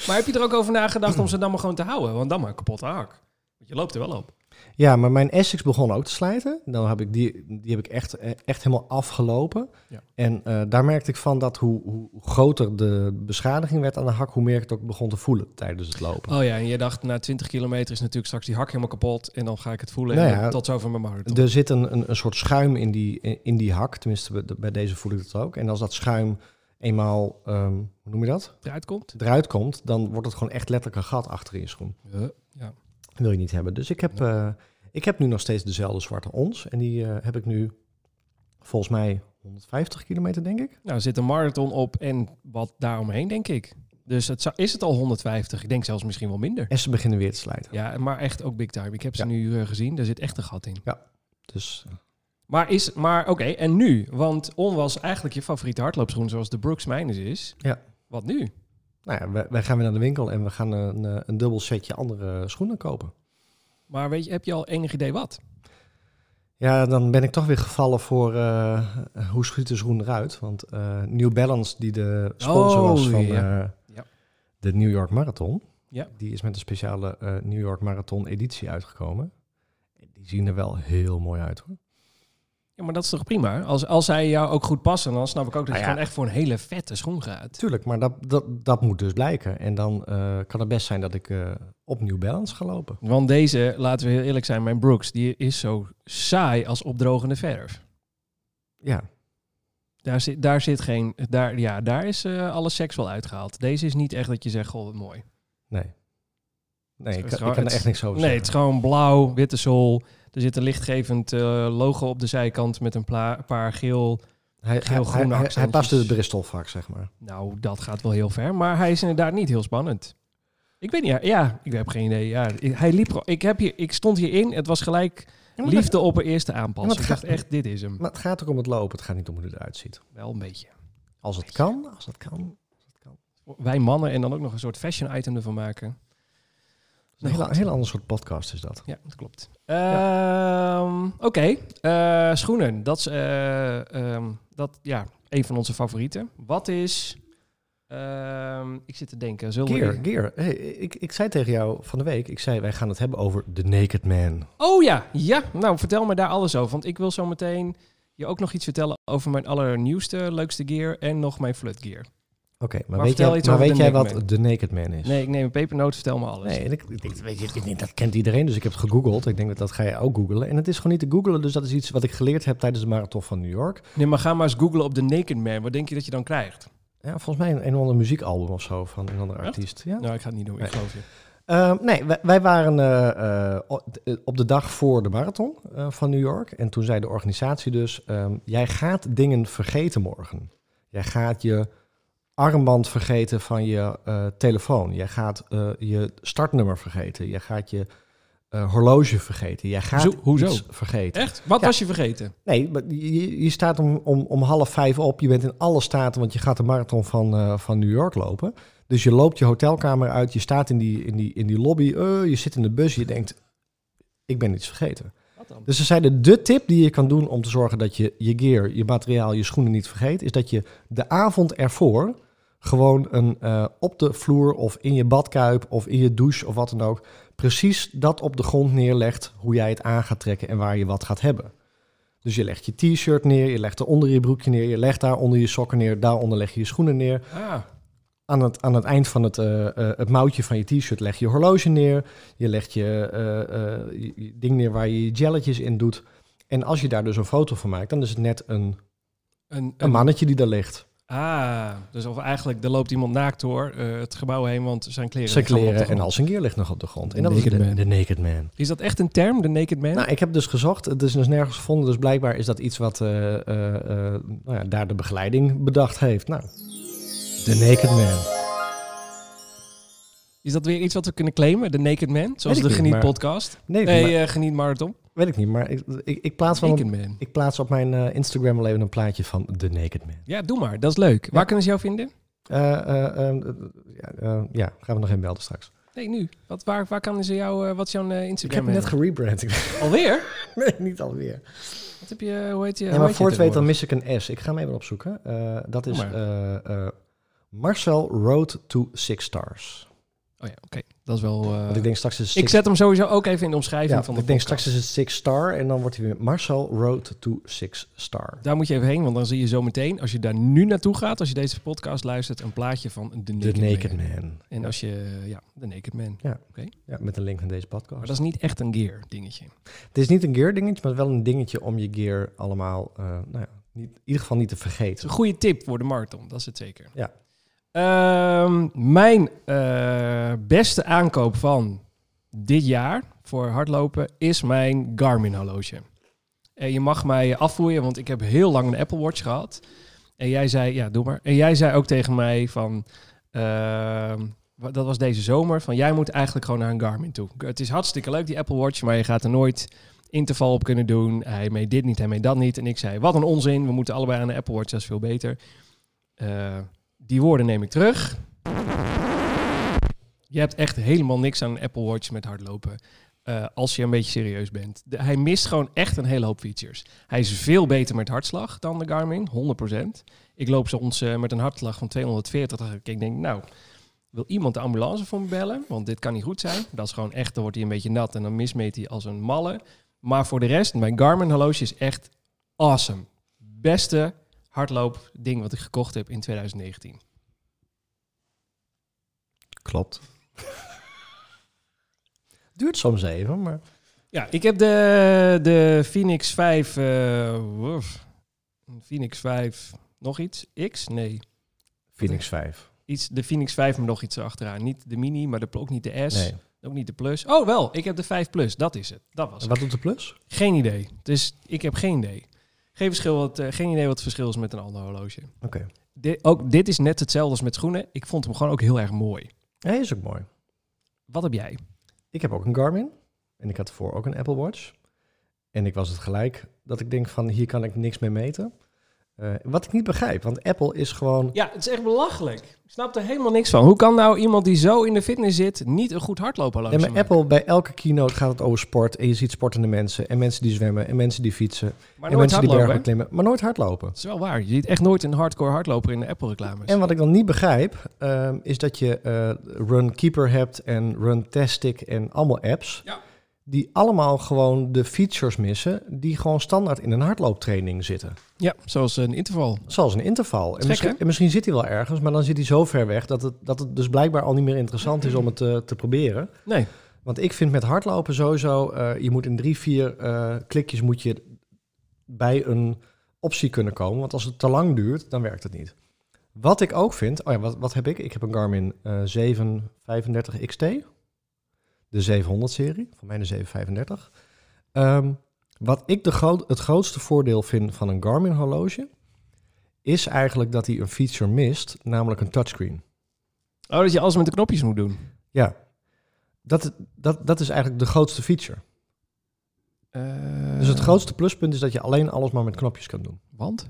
[SPEAKER 1] Maar heb je er ook over nagedacht om ze dan maar gewoon te houden? Want dan maar een kapotte hak. Want je loopt er wel op.
[SPEAKER 2] Ja, maar mijn Essex begon ook te slijten. Dan heb ik die, die heb ik echt, eh, echt helemaal afgelopen.
[SPEAKER 1] Ja.
[SPEAKER 2] En eh, daar merkte ik van dat hoe, hoe groter de beschadiging werd aan de hak... hoe meer ik het ook begon te voelen tijdens het lopen.
[SPEAKER 1] Oh ja, en je dacht na 20 kilometer is natuurlijk straks die hak helemaal kapot. En dan ga ik het voelen.
[SPEAKER 2] Nou
[SPEAKER 1] en
[SPEAKER 2] ja,
[SPEAKER 1] tot zover mijn marathon.
[SPEAKER 2] Er zit een, een, een soort schuim in die, in die hak. Tenminste, bij- bij deze voel ik dat ook. En als dat schuim eenmaal, ehm, hoe noem je dat,
[SPEAKER 1] eruit komt.
[SPEAKER 2] eruit komt... dan wordt het gewoon echt letterlijk een gat achter in je schoen.
[SPEAKER 1] Ja.
[SPEAKER 2] wil je niet hebben. Dus ik heb, eh, ik heb nu nog steeds dezelfde zwarte ons. En die eh, heb ik nu volgens mij 150 kilometer, denk ik.
[SPEAKER 1] Nou, er zit een marathon op en wat daaromheen, denk ik. Dus het zou, is het al 150? Ik denk zelfs misschien wel minder.
[SPEAKER 2] En ze beginnen weer te slijten.
[SPEAKER 1] Ja, maar echt ook big time. Ik heb ze
[SPEAKER 2] Ja.
[SPEAKER 1] nu eh, gezien, daar zit echt een gat in.
[SPEAKER 2] Dus
[SPEAKER 1] Maar, is- maar oké, en nu? Want On was eigenlijk je favoriete hardloopschoen, zoals de Brooks Minus is.
[SPEAKER 2] Ja.
[SPEAKER 1] Wat nu?
[SPEAKER 2] nou ja, wij, wij gaan weer naar de winkel en we gaan een, eh, een dubbel setje andere schoenen kopen.
[SPEAKER 1] Maar weet je, heb je al enig idee wat?
[SPEAKER 2] Ja, dan ben ik toch weer gevallen voor eh, hoe schiet de schoen eruit. Want eh, New Balance, die de sponsor
[SPEAKER 1] Oh,
[SPEAKER 2] was van
[SPEAKER 1] ja.
[SPEAKER 2] eh,
[SPEAKER 1] Ja.
[SPEAKER 2] de New York Marathon,
[SPEAKER 1] Ja.
[SPEAKER 2] die is met een speciale eh, New York Marathon editie uitgekomen. Die zien er wel heel mooi uit hoor.
[SPEAKER 1] Ja, maar dat is toch prima? Als, als zij jou ook goed passen, dan snap ik ook dat
[SPEAKER 2] Nou
[SPEAKER 1] je
[SPEAKER 2] ja.
[SPEAKER 1] gewoon echt voor een hele vette schoen gaat.
[SPEAKER 2] Tuurlijk, maar dat, dat, dat moet dus blijken. En dan eh, kan het best zijn dat ik eh, op New Balance ga lopen.
[SPEAKER 1] Want deze, laten we heel eerlijk zijn, mijn Brooks, die is zo saai als opdrogende verf.
[SPEAKER 2] Ja,
[SPEAKER 1] Daar zit, daar zit geen, daar, ja, daar is eh alles seks wel uitgehaald. Deze is niet echt dat je zegt, goh, wat mooi.
[SPEAKER 2] nee. Nee, ik,
[SPEAKER 1] is
[SPEAKER 2] kan-
[SPEAKER 1] gewoon- het
[SPEAKER 2] ik kan er
[SPEAKER 1] is-
[SPEAKER 2] echt niks over
[SPEAKER 1] Nee, het
[SPEAKER 2] zeggen.
[SPEAKER 1] is gewoon blauw, witte sol. Er zit een lichtgevend eh, logo op de zijkant met een pla- paar geel. dus-
[SPEAKER 2] Hij, hij,
[SPEAKER 1] geel-groene
[SPEAKER 2] hij, hij, hij
[SPEAKER 1] accentjes.
[SPEAKER 2] past in het Bristol-vak, zeg maar.
[SPEAKER 1] Nou, dat gaat wel heel ver, maar hij is inderdaad niet heel spannend. Ik weet niet, ja, ja ik heb geen idee. Ja, ik- hij liep, gewoon- ik, heb hier, ik stond hierin, het was gelijk liefde op een eerste
[SPEAKER 2] Ja, maar
[SPEAKER 1] aanpassing.
[SPEAKER 2] het
[SPEAKER 1] Ik dacht
[SPEAKER 2] gaat-
[SPEAKER 1] echt, dit is hem.
[SPEAKER 2] Maar het gaat ook om het lopen. Het gaat niet om hoe het eruit ziet.
[SPEAKER 1] Wel een beetje.
[SPEAKER 2] Als het kan, als het kan.
[SPEAKER 1] Wij mannen en dan ook nog een soort fashion item ervan maken.
[SPEAKER 2] Een
[SPEAKER 1] Nou,
[SPEAKER 2] heel,
[SPEAKER 1] goed.
[SPEAKER 2] heel ander soort podcast is dat.
[SPEAKER 1] Ja, dat klopt. Ehm, Oké, eh, schoenen. Dat is, eh, ehm, dat, ja, een van onze favorieten. Wat is... ehm, ik zit te denken, zullen
[SPEAKER 2] Gear,
[SPEAKER 1] we...
[SPEAKER 2] gear. Hey, ik, ik zei tegen jou van de week, ik zei wij gaan het hebben over The Naked Man.
[SPEAKER 1] Oh ja, ja. Nou, vertel me daar alles over. Want ik wil zo meteen je ook nog iets vertellen over mijn allernieuwste, leukste gear en nog mijn flut gear.
[SPEAKER 2] Oké, maar,
[SPEAKER 1] Maar
[SPEAKER 2] weet
[SPEAKER 1] vertel
[SPEAKER 2] jij,
[SPEAKER 1] iets
[SPEAKER 2] maar
[SPEAKER 1] over
[SPEAKER 2] weet
[SPEAKER 1] The
[SPEAKER 2] jij
[SPEAKER 1] Naked
[SPEAKER 2] wat
[SPEAKER 1] Man.
[SPEAKER 2] The Naked Man is?
[SPEAKER 1] Nee, ik neem een pepernoot, vertel me alles.
[SPEAKER 2] Nee, en ik, ik, denk, weet je, ik denk, dat kent iedereen, dus ik heb het gegoogeld. Ik denk dat dat ga je ook googelen. En het is gewoon niet te googelen, dus dat is iets wat ik geleerd heb tijdens de marathon van New York.
[SPEAKER 1] nee, maar ga maar eens googlen op de Naked Man. Wat denk je dat je dan krijgt?
[SPEAKER 2] Ja, volgens mij een, een of ander muziekalbum of zo van een ander
[SPEAKER 1] Echt?
[SPEAKER 2] artiest. Ja.
[SPEAKER 1] Nou, ik ga het niet doen, ik
[SPEAKER 2] Nee.
[SPEAKER 1] geloof je.
[SPEAKER 2] Ehm, nee, wij, wij waren eh, eh, o- eh, op de dag voor de marathon eh, van New York. En toen zei de organisatie dus, ehm, jij gaat dingen vergeten morgen. Jij gaat je armband vergeten van je eh, telefoon. Jij gaat eh, je startnummer vergeten. Jij gaat je eh, horloge vergeten. Jij gaat
[SPEAKER 1] Zo- hoezo?
[SPEAKER 2] iets vergeten.
[SPEAKER 1] Echt? Wat
[SPEAKER 2] Ja.
[SPEAKER 1] was je vergeten?
[SPEAKER 2] Nee, maar je, je staat om, om, om half vijf op. Je bent in alle staten, want je gaat de marathon van, eh, van New York lopen. Dus je loopt je hotelkamer uit, je staat in die, in die, in die lobby, eh, je zit in de bus, je denkt, ik ben iets vergeten.
[SPEAKER 1] Wat dan?
[SPEAKER 2] Dus ze zeiden, de tip die je kan doen om te zorgen dat je je gear, je materiaal, je schoenen niet vergeet, is dat je de avond ervoor gewoon een, eh, op de vloer of in je badkuip of in je douche of wat dan ook, precies dat op de grond neerlegt, hoe jij het aan gaat trekken en waar je wat gaat hebben. Dus je legt je t-shirt neer, je legt er onder je broekje neer, je legt daar onder je sokken neer, daaronder leg je je schoenen neer
[SPEAKER 1] Ah,
[SPEAKER 2] aan het, aan het eind van het, eh, eh, het mouwtje van je t-shirt leg je horloge neer. Je legt je, eh, eh, je- je ding neer waar je je jelletjes in doet. En als je daar dus een foto van maakt, dan is het net een,
[SPEAKER 1] een,
[SPEAKER 2] een
[SPEAKER 1] een
[SPEAKER 2] mannetje die daar ligt.
[SPEAKER 1] Ah, dus of eigenlijk, er loopt iemand naakt door eh, het gebouw heen, want zijn kleren...
[SPEAKER 2] Zijn
[SPEAKER 1] liggen allemaal
[SPEAKER 2] kleren
[SPEAKER 1] op de
[SPEAKER 2] en
[SPEAKER 1] grond.
[SPEAKER 2] al zijn gear ligt nog op de grond.
[SPEAKER 1] De
[SPEAKER 2] En dat is
[SPEAKER 1] naked
[SPEAKER 2] de,
[SPEAKER 1] man.
[SPEAKER 2] de naked man.
[SPEAKER 1] Is dat echt een term, de naked man?
[SPEAKER 2] Nou, ik heb dus gezocht. Het is dus nergens gevonden. Dus blijkbaar is dat iets wat eh, eh, eh, nou ja, daar de begeleiding bedacht heeft. Nou, de naked man.
[SPEAKER 1] Is dat weer iets wat we kunnen claimen, de naked man? Zoals
[SPEAKER 2] ik
[SPEAKER 1] de
[SPEAKER 2] niet,
[SPEAKER 1] Geniet
[SPEAKER 2] maar-
[SPEAKER 1] podcast?
[SPEAKER 2] Nee,
[SPEAKER 1] Nee,
[SPEAKER 2] maar-
[SPEAKER 1] eh, Geniet Marathon.
[SPEAKER 2] weet ik niet. Maar ik, ik, ik plaats, wel
[SPEAKER 1] Naked
[SPEAKER 2] een,
[SPEAKER 1] man.
[SPEAKER 2] ik plaats op mijn eh, Instagram al even een plaatje van de naked man.
[SPEAKER 1] Ja, doe maar. Dat is leuk. Waar kunnen ze jou vinden?
[SPEAKER 2] Eh, eh, eh, eh, ja, eh, ja, gaan we nog even melden straks.
[SPEAKER 1] Nee, nu. Wat, waar, waar kunnen ze jou... eh, wat is jouw eh,
[SPEAKER 2] Ik
[SPEAKER 1] Instagram?
[SPEAKER 2] heb net
[SPEAKER 1] handle?
[SPEAKER 2] gerebrand. <laughs>
[SPEAKER 1] Alweer?
[SPEAKER 2] nee, niet alweer.
[SPEAKER 1] Wat heb je... Hoe heet je?
[SPEAKER 2] Ja,
[SPEAKER 1] hoe
[SPEAKER 2] maar
[SPEAKER 1] heet
[SPEAKER 2] voor
[SPEAKER 1] je
[SPEAKER 2] het weten dan
[SPEAKER 1] tegenwoordig?
[SPEAKER 2] mis ik een S. Ik ga hem even opzoeken. Eh, dat is
[SPEAKER 1] Doe maar.
[SPEAKER 2] eh, eh, Marcel Road to Six Stars.
[SPEAKER 1] Oh ja, oké. Dat is wel... eh,
[SPEAKER 2] Want ik denk straks is het
[SPEAKER 1] ik
[SPEAKER 2] six-
[SPEAKER 1] zet hem sowieso ook even in de omschrijving
[SPEAKER 2] ja,
[SPEAKER 1] van
[SPEAKER 2] ik
[SPEAKER 1] de
[SPEAKER 2] denk
[SPEAKER 1] podcast.
[SPEAKER 2] straks is het Six Star en dan wordt hij weer Marcel Road to Six Star.
[SPEAKER 1] Daar moet je even heen, want dan zie je zo meteen, als je daar nu naartoe gaat, als je deze podcast luistert, een plaatje van de
[SPEAKER 2] The
[SPEAKER 1] Naked,
[SPEAKER 2] Naked
[SPEAKER 1] Man.
[SPEAKER 2] Man.
[SPEAKER 1] En als je, ja, de Naked Man.
[SPEAKER 2] Ja, met een link naar deze
[SPEAKER 1] Maar
[SPEAKER 2] podcast.
[SPEAKER 1] dat is niet echt een gear dingetje.
[SPEAKER 2] Het is niet een gear dingetje, maar wel een dingetje om je gear allemaal, eh, nou ja, niet, in ieder geval niet te
[SPEAKER 1] Het is
[SPEAKER 2] vergeten.
[SPEAKER 1] een goede tip voor de marathon, dat is het zeker.
[SPEAKER 2] Ja.
[SPEAKER 1] Ehm, mijn eh, beste aankoop van dit jaar voor hardlopen is mijn Garmin horloge. En je mag mij afvoeren, want ik heb heel lang een Apple Watch gehad. En jij zei, ja, doe maar. En jij zei ook tegen mij van, ehm, wa- dat was deze zomer, van jij moet eigenlijk gewoon naar een Garmin toe. Het is hartstikke leuk, die Apple Watch, maar je gaat er nooit interval op kunnen doen. Hij mee dit niet, hij mee dat niet. En ik zei, wat een onzin, we moeten allebei aan de Apple Watch, dat is veel beter. Eh, die woorden neem ik terug. Je hebt echt helemaal niks aan een Apple Watch met hardlopen. eh, als je een beetje serieus bent. De- hij mist gewoon echt een hele hoop features. Hij is veel beter met hartslag dan de Garmin, 100%. Ik loop soms eh, met een hartslag van 240. dat Ik denk, nou, wil iemand de ambulance voor me bellen? Want dit kan niet goed zijn. Dat is gewoon echt, dan wordt hij een beetje nat en dan mismeet hij als een malle. Maar voor de rest, mijn Garmin horloge is echt awesome. Beste hardloopding wat ik gekocht heb in 2019.
[SPEAKER 2] Klopt. <laughs> Duurt soms even, maar...
[SPEAKER 1] Ja, ik heb de, de Phoenix 5. eh, wof. Een Phoenix 5. Nog iets? X? Nee.
[SPEAKER 2] Phoenix 5.
[SPEAKER 1] Iets, de Phoenix 5, maar nog iets erachteraan. Niet de Mini, maar de, ook niet de S.
[SPEAKER 2] Nee.
[SPEAKER 1] Ook niet de Plus. Oh, wel. Ik heb de 5 Plus. Dat is het. Dat was het.
[SPEAKER 2] En wat doet de plus?
[SPEAKER 1] Geen idee. Dus ik heb geen idee. Geen, verschil wat, eh, geen idee wat het verschil is met een ander horloge.
[SPEAKER 2] Oké.
[SPEAKER 1] Di- ook dit is net hetzelfde als met schoenen. Ik vond hem gewoon ook heel erg mooi.
[SPEAKER 2] Hij is ook mooi.
[SPEAKER 1] Wat heb jij?
[SPEAKER 2] Ik heb ook een Garmin. En ik had ervoor ook een Apple Watch. En ik was het gelijk dat ik denk van hier kan ik niks mee meten. Eh, wat ik niet begrijp, want Apple is gewoon...
[SPEAKER 1] Ja, het is echt belachelijk. Ik snap er helemaal niks van. Hoe kan nou iemand die zo in de fitness zit niet een goed hardloophorloge
[SPEAKER 2] Nee, maar
[SPEAKER 1] maken?
[SPEAKER 2] Apple, bij elke keynote gaat het over sport. En je ziet sportende mensen. En mensen die zwemmen. En mensen die fietsen.
[SPEAKER 1] Maar nooit
[SPEAKER 2] en mensen die
[SPEAKER 1] hardlopen.
[SPEAKER 2] bergen
[SPEAKER 1] hè?
[SPEAKER 2] beklimmen. Maar nooit hardlopen.
[SPEAKER 1] Dat is wel waar. Je ziet echt nooit een hardcore hardloper in de Apple-reclames.
[SPEAKER 2] En wat ik dan niet begrijp, ehm, is dat je eh Run Keeper hebt en Run Tastic en allemaal apps.
[SPEAKER 1] Ja.
[SPEAKER 2] Die allemaal gewoon de features missen die gewoon standaard in een hardlooptraining zitten.
[SPEAKER 1] Ja, zoals een interval.
[SPEAKER 2] Zoals een interval.
[SPEAKER 1] Gek,
[SPEAKER 2] En misschien,
[SPEAKER 1] hè?
[SPEAKER 2] en misschien zit hij wel ergens, maar dan zit hij zo ver weg dat het, dat het dus blijkbaar al niet meer interessant is om het eh, te proberen.
[SPEAKER 1] Nee.
[SPEAKER 2] Want ik vind met hardlopen sowieso, eh, je moet in drie, vier eh, klikjes moet je bij een optie kunnen komen. Want als het te lang duurt, dan werkt het niet. Wat ik ook vind, oh ja, wat, wat heb ik? Ik heb een Garmin eh 735 XT. De 700-serie, van mij de 735. Ehm, wat ik de groot, het grootste voordeel vind van een Garmin-horloge... is eigenlijk dat hij een feature mist, namelijk een touchscreen.
[SPEAKER 1] Oh, dat je alles met de knopjes moet doen.
[SPEAKER 2] Ja, dat, dat, dat is eigenlijk de grootste feature.
[SPEAKER 1] Eh,
[SPEAKER 2] Dus het grootste pluspunt is dat je alleen alles maar met knopjes kan doen.
[SPEAKER 1] Want?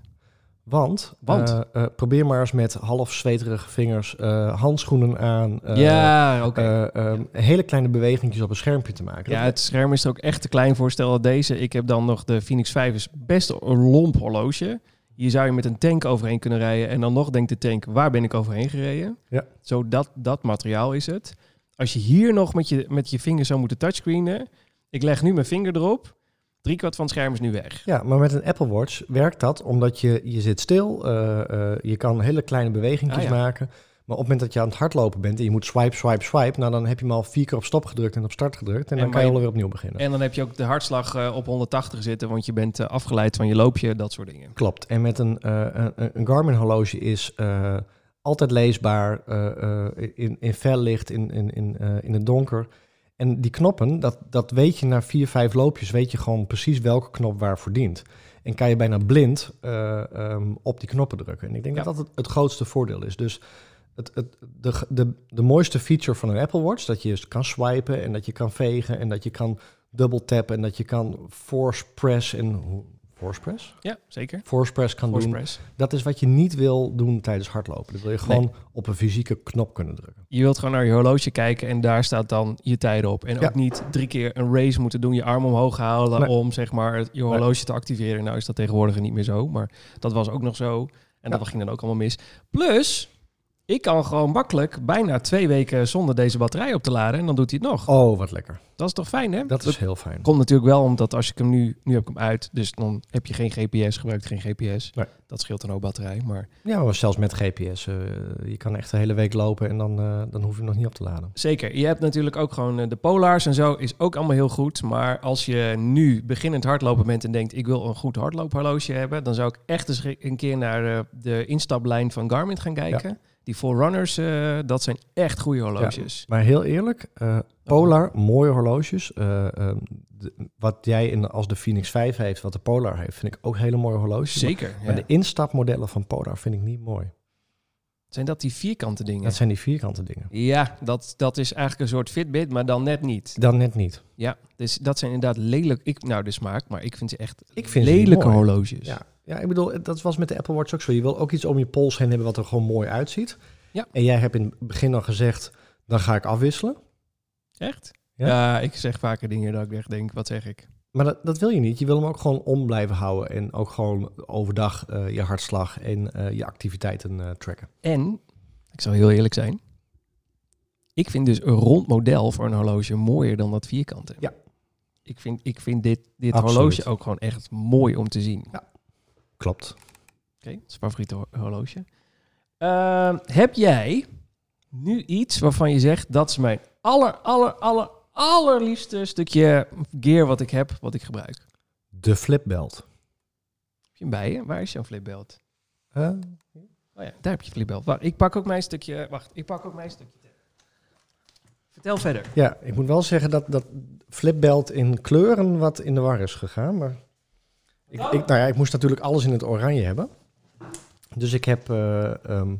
[SPEAKER 2] Want,
[SPEAKER 1] Want?
[SPEAKER 2] eh, eh, probeer maar eens met half zweterige vingers eh, handschoenen aan. eh,
[SPEAKER 1] ja, oké.
[SPEAKER 2] eh, ehm, hele kleine bewegingjes op een schermpje te maken.
[SPEAKER 1] ja,
[SPEAKER 2] Dat-
[SPEAKER 1] het scherm is er ook echt te klein voor. Stel dat deze, ik heb dan nog de Phoenix 5, is best een lomp horloge. Hier zou je met een tank overheen kunnen rijden. En dan nog denkt de tank, waar ben ik overheen gereden?
[SPEAKER 2] Ja.
[SPEAKER 1] Zo dat, dat materiaal is het. Als je hier nog met je, met je vinger zou moeten touchscreenen. Ik leg nu mijn vinger erop. Driekwart van het scherm is nu weg.
[SPEAKER 2] ja, maar met een Apple Watch werkt dat omdat je, je zit stil. eh, eh, je kan hele kleine bewegingjes
[SPEAKER 1] Ah, ja.
[SPEAKER 2] maken. Maar op het moment dat je aan het hardlopen bent en je moet swipe, swipe, swipe... nou dan heb je hem al vier keer op stop gedrukt en op start gedrukt. En,
[SPEAKER 1] En
[SPEAKER 2] dan kan je
[SPEAKER 1] maar-
[SPEAKER 2] alweer opnieuw beginnen.
[SPEAKER 1] En dan heb je ook de hartslag eh, op 180 zitten, want je bent eh, afgeleid van je loopje, dat soort dingen.
[SPEAKER 2] Klopt. En met een, eh, een, een Garmin horloge is eh, altijd leesbaar, eh, eh, in, in fel licht, in, in, in, eh, in het donker. En die knoppen, dat, dat weet je na vier, vijf loopjes, weet je gewoon precies welke knop waarvoor dient. En kan je bijna blind eh, ehm, op die knoppen drukken. En ik denk
[SPEAKER 1] Ja.
[SPEAKER 2] dat dat het, het grootste voordeel is. Dus het, het, de, de, de mooiste feature van een Apple Watch, dat je dus kan swipen en dat je kan vegen en dat je kan double tappen en dat je kan force press en... hoe- Force press?
[SPEAKER 1] Ja, zeker.
[SPEAKER 2] Forcepress kan doen.
[SPEAKER 1] Horsepress.
[SPEAKER 2] Dat is wat je niet wil doen tijdens hardlopen. Dat wil je gewoon op een fysieke knop kunnen drukken.
[SPEAKER 1] Je wilt gewoon naar je horloge kijken en daar staat dan je tijd op. En
[SPEAKER 2] Ja.
[SPEAKER 1] ook niet drie keer een race moeten doen, je arm omhoog halen
[SPEAKER 2] Nee.
[SPEAKER 1] om zeg maar het- je horloge te activeren. Nou is dat tegenwoordig niet meer zo, maar dat was ook nog zo. En dat ging dan ook allemaal mis. Plus, ik kan gewoon makkelijk bijna twee weken zonder deze batterij op te laden en dan doet hij het nog.
[SPEAKER 2] Oh, wat lekker.
[SPEAKER 1] Dat is toch fijn, hè?
[SPEAKER 2] Dat is heel fijn.
[SPEAKER 1] Komt natuurlijk wel omdat als ik hem nu, nu heb ik hem uit, dus dan heb je geen GPS, gebruikt geen GPS.
[SPEAKER 2] Nee.
[SPEAKER 1] Dat scheelt dan ook batterij, maar
[SPEAKER 2] Ja, maar zelfs met GPS. eh, je kan echt de hele week lopen en dan, eh, dan hoef je hem nog niet op te laden.
[SPEAKER 1] Zeker. Je hebt natuurlijk ook gewoon eh, de polars en zo is ook allemaal heel goed. Maar als je nu beginnend hardlopen bent en denkt ik wil een goed hardloophorloge hebben, dan zou ik echt eens ge- een keer naar eh, de instaplijn van Garmin gaan kijken. Die Forerunners, eh dat zijn echt goede horloges.
[SPEAKER 2] Maar heel eerlijk, eh, Polar, mooie horloges. Eh, ehm, de- wat jij in, als de Phoenix 5 heeft, wat de Polar heeft, vind ik ook hele mooie horloges. Maar-
[SPEAKER 1] Zeker. ja.
[SPEAKER 2] Maar de instapmodellen van Polar vind ik niet mooi.
[SPEAKER 1] Zijn dat die vierkante dingen?
[SPEAKER 2] Dat zijn die vierkante dingen.
[SPEAKER 1] Ja, dat, dat is eigenlijk een soort Fitbit, maar dan net niet.
[SPEAKER 2] Dan net niet.
[SPEAKER 1] Ja, dus dat zijn inderdaad lelijk. Ik, nou, de smaak, maar ik vind ze echt
[SPEAKER 2] Ik vind ze niet
[SPEAKER 1] lelijke
[SPEAKER 2] mooi.
[SPEAKER 1] horloges.
[SPEAKER 2] Ja. ja, ik bedoel, dat was met de Apple Watch ook zo. Je wil ook iets om je pols heen hebben wat er gewoon mooi uitziet.
[SPEAKER 1] Ja.
[SPEAKER 2] En jij hebt in het begin al gezegd, dan ga ik afwisselen.
[SPEAKER 1] Echt? Ja?
[SPEAKER 2] Ja?
[SPEAKER 1] ik zeg vaker dingen dat ik echt denk, wat zeg ik?
[SPEAKER 2] Maar dat, dat wil je niet. Je wil hem ook gewoon om blijven houden. En ook gewoon overdag eh, je hartslag en eh, je activiteiten eh, tracken.
[SPEAKER 1] En, ik zal heel eerlijk zijn, ik vind dus een rond model voor een horloge mooier dan dat vierkante.
[SPEAKER 2] Ja.
[SPEAKER 1] Ik vind, ik vind dit, dit
[SPEAKER 2] Absoluut.
[SPEAKER 1] horloge ook gewoon echt mooi om te zien.
[SPEAKER 2] Klopt.
[SPEAKER 1] Oké, dat is favoriete ho- horloge. Ehm, heb jij nu iets waarvan je zegt dat is mijn aller, aller, aller, allerliefste stukje gear wat ik heb, wat ik gebruik? Heb
[SPEAKER 2] De flipbelt.
[SPEAKER 1] je hem bij je? Waar is jouw flipbelt?
[SPEAKER 2] Eh,
[SPEAKER 1] Oh ja, daar heb je flipbelt. Wacht, ik pak ook mijn stukje. Wacht, ik pak ook mijn stukje. Vertel verder.
[SPEAKER 2] ja, ik moet wel zeggen dat, dat flipbelt in kleuren wat in de war is gegaan. Maar ik, ik, nou ja, ik moest natuurlijk alles in het oranje hebben. Dus ik heb eh, ehm,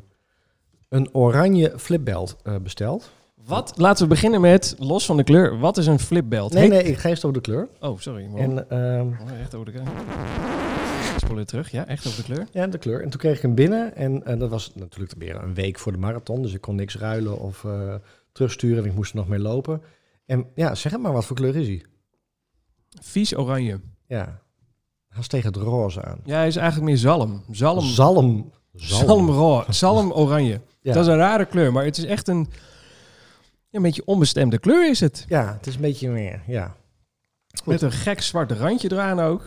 [SPEAKER 2] een oranje flipbelt eh, besteld.
[SPEAKER 1] Wat? Laten we beginnen met, los van de kleur, wat is een flipbelt?
[SPEAKER 2] Nee,
[SPEAKER 1] Heet-
[SPEAKER 2] nee, ik geef het over de kleur.
[SPEAKER 1] Oh, sorry. man.
[SPEAKER 2] En ehm,
[SPEAKER 1] Oh, echt over de kleur. Ik Spoel weer terug, ja, echt over de kleur.
[SPEAKER 2] Ja, de kleur. En toen kreeg ik hem binnen. En eh, dat was natuurlijk weer een week voor de marathon. Dus ik kon niks ruilen of eh, terugsturen. En ik moest er nog mee lopen. En ja, zeg het maar, wat voor kleur is hij?
[SPEAKER 1] Vies oranje.
[SPEAKER 2] Ja, hij is tegen het roze aan.
[SPEAKER 1] Ja, hij is eigenlijk meer zalm. Zalm.
[SPEAKER 2] Zalm.
[SPEAKER 1] Zalmro- Zalmoranje.
[SPEAKER 2] Ja.
[SPEAKER 1] Dat is een rare kleur, maar het is echt een, een beetje onbestemde kleur is het.
[SPEAKER 2] Ja, het is een beetje meer, ja.
[SPEAKER 1] Met een gek zwart randje eraan ook.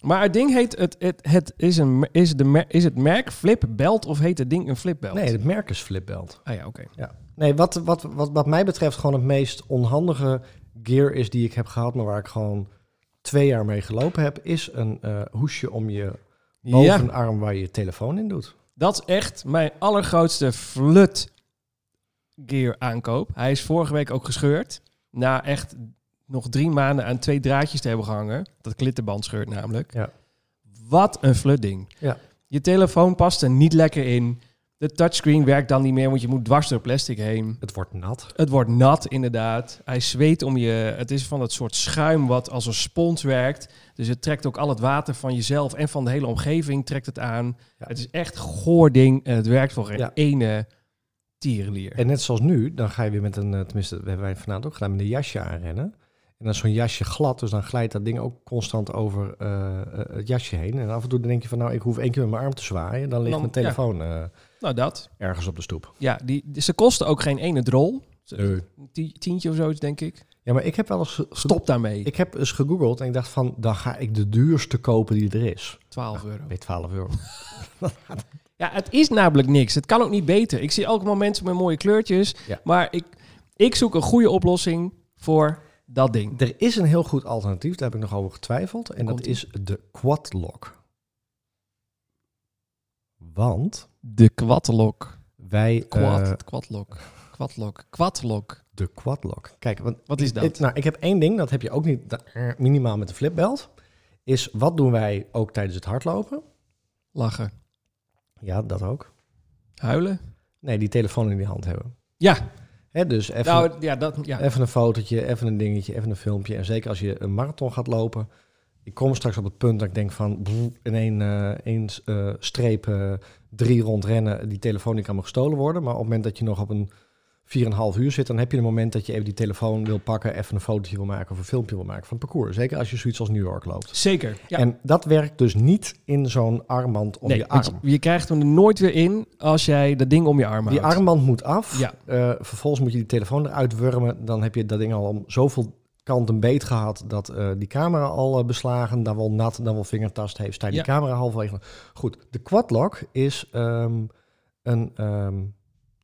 [SPEAKER 1] Maar het ding heet, het, het, het is, een, is, de, mer- is het merk flipbelt of heet het ding een flipbelt?
[SPEAKER 2] Nee, het merk is flipbelt.
[SPEAKER 1] Ah ja, oké.
[SPEAKER 2] Nee, wat, wat, wat, wat mij betreft gewoon het meest onhandige gear is die ik heb gehad... maar waar ik gewoon twee jaar mee gelopen heb... is een eh, hoesje om je
[SPEAKER 1] Ja,
[SPEAKER 2] bovenarm waar je je telefoon in doet.
[SPEAKER 1] dat is echt mijn allergrootste flut gear aankoop. Hij is vorige week ook gescheurd. Na echt nog drie maanden aan twee draadjes te hebben gehangen. Dat klittenband scheurt namelijk.
[SPEAKER 2] Ja.
[SPEAKER 1] Wat een flut ding.
[SPEAKER 2] Ja.
[SPEAKER 1] Je telefoon past er niet lekker in. De touchscreen werkt dan niet meer, want je moet dwars door plastic heen.
[SPEAKER 2] Het wordt nat.
[SPEAKER 1] Het wordt nat, inderdaad. Hij zweet om je. Het is van dat soort schuim wat als een spons werkt. Dus het trekt ook al het water van jezelf en van de hele omgeving trekt het aan.
[SPEAKER 2] Ja.
[SPEAKER 1] Het is echt goor ding en het werkt voor geen
[SPEAKER 2] Ja.
[SPEAKER 1] ene tierenlier.
[SPEAKER 2] En net zoals nu, dan ga je weer met een, eh, tenminste, dat hebben wij vanavond ook gedaan, met een jasje aanrennen. En dan is zo'n jasje glad, dus dan glijdt dat ding ook constant over eh, eh, het jasje heen. En af en toe dan denk je van, nou, ik hoef één keer met mijn arm te zwaaien. Dan ligt
[SPEAKER 1] Dan-
[SPEAKER 2] mijn telefoon eh,
[SPEAKER 1] Nou, dat.
[SPEAKER 2] ergens op de stoep.
[SPEAKER 1] Ja, die, die- ze kosten ook geen ene drol. Ze- een ti- tientje of zoiets, denk ik.
[SPEAKER 2] Ja, maar ik heb wel eens... ge-
[SPEAKER 1] Stop daarmee.
[SPEAKER 2] Ik heb eens gegoogeld en ik dacht van, dan ga ik de duurste kopen die er is.
[SPEAKER 1] 12 euro.
[SPEAKER 2] Bij 12 euro.
[SPEAKER 1] Ja, het is namelijk niks. Het kan ook niet beter. Ik zie elke moment mensen met mooie kleurtjes.
[SPEAKER 2] Ja.
[SPEAKER 1] Maar ik, ik zoek een goede oplossing voor dat ding.
[SPEAKER 2] Er is een heel goed alternatief, daar heb ik nog over getwijfeld. En dat
[SPEAKER 1] Komt-ie.
[SPEAKER 2] is de Quadlock. Want
[SPEAKER 1] De kwadlok.
[SPEAKER 2] wij... eh,
[SPEAKER 1] Quad, kwadlok. Kwadlok. Kwadlok.
[SPEAKER 2] de Quadlock. Kijk, want
[SPEAKER 1] Wat is dat?
[SPEAKER 2] Ik, nou, ik heb één ding, dat heb je ook niet da- eh, minimaal met de flipbelt. Is wat doen wij ook tijdens het hardlopen?
[SPEAKER 1] Lachen.
[SPEAKER 2] Ja, dat ook.
[SPEAKER 1] Huilen?
[SPEAKER 2] Nee, die telefoon in die hand hebben.
[SPEAKER 1] Ja.
[SPEAKER 2] Hè, dus even, Eh,
[SPEAKER 1] Nou, ja, dat... Ja.
[SPEAKER 2] even een fotootje, even een dingetje, even een filmpje. En zeker als je een marathon gaat lopen. Ik kom straks op het punt dat ik denk van brrr, in één, eh, één eh, streep eh, drie rond rennen. Die telefoon die kan me gestolen worden. Maar op het moment dat je nog op een 4,5 uur zit, dan heb je een moment dat je even die telefoon wil pakken, even een fotootje wil maken of een filmpje wil maken van het parcours. Zeker als je zoiets als New York loopt.
[SPEAKER 1] Zeker. Ja.
[SPEAKER 2] En dat werkt dus niet in zo'n armband om
[SPEAKER 1] nee,
[SPEAKER 2] je
[SPEAKER 1] want
[SPEAKER 2] arm.
[SPEAKER 1] Je, je krijgt hem er nooit weer in als jij dat ding om je arm houdt.
[SPEAKER 2] Die armband moet af.
[SPEAKER 1] Ja.
[SPEAKER 2] Eh, vervolgens moet je die telefoon eruit wurmen. Dan heb je dat ding al om zoveel kanten beet gehad dat eh, die camera al eh, beslagen, dan wel nat, dan wel vingertast heeft. Sta je die camera halverwege. Goed, de quadlock is ehm, een, ehm,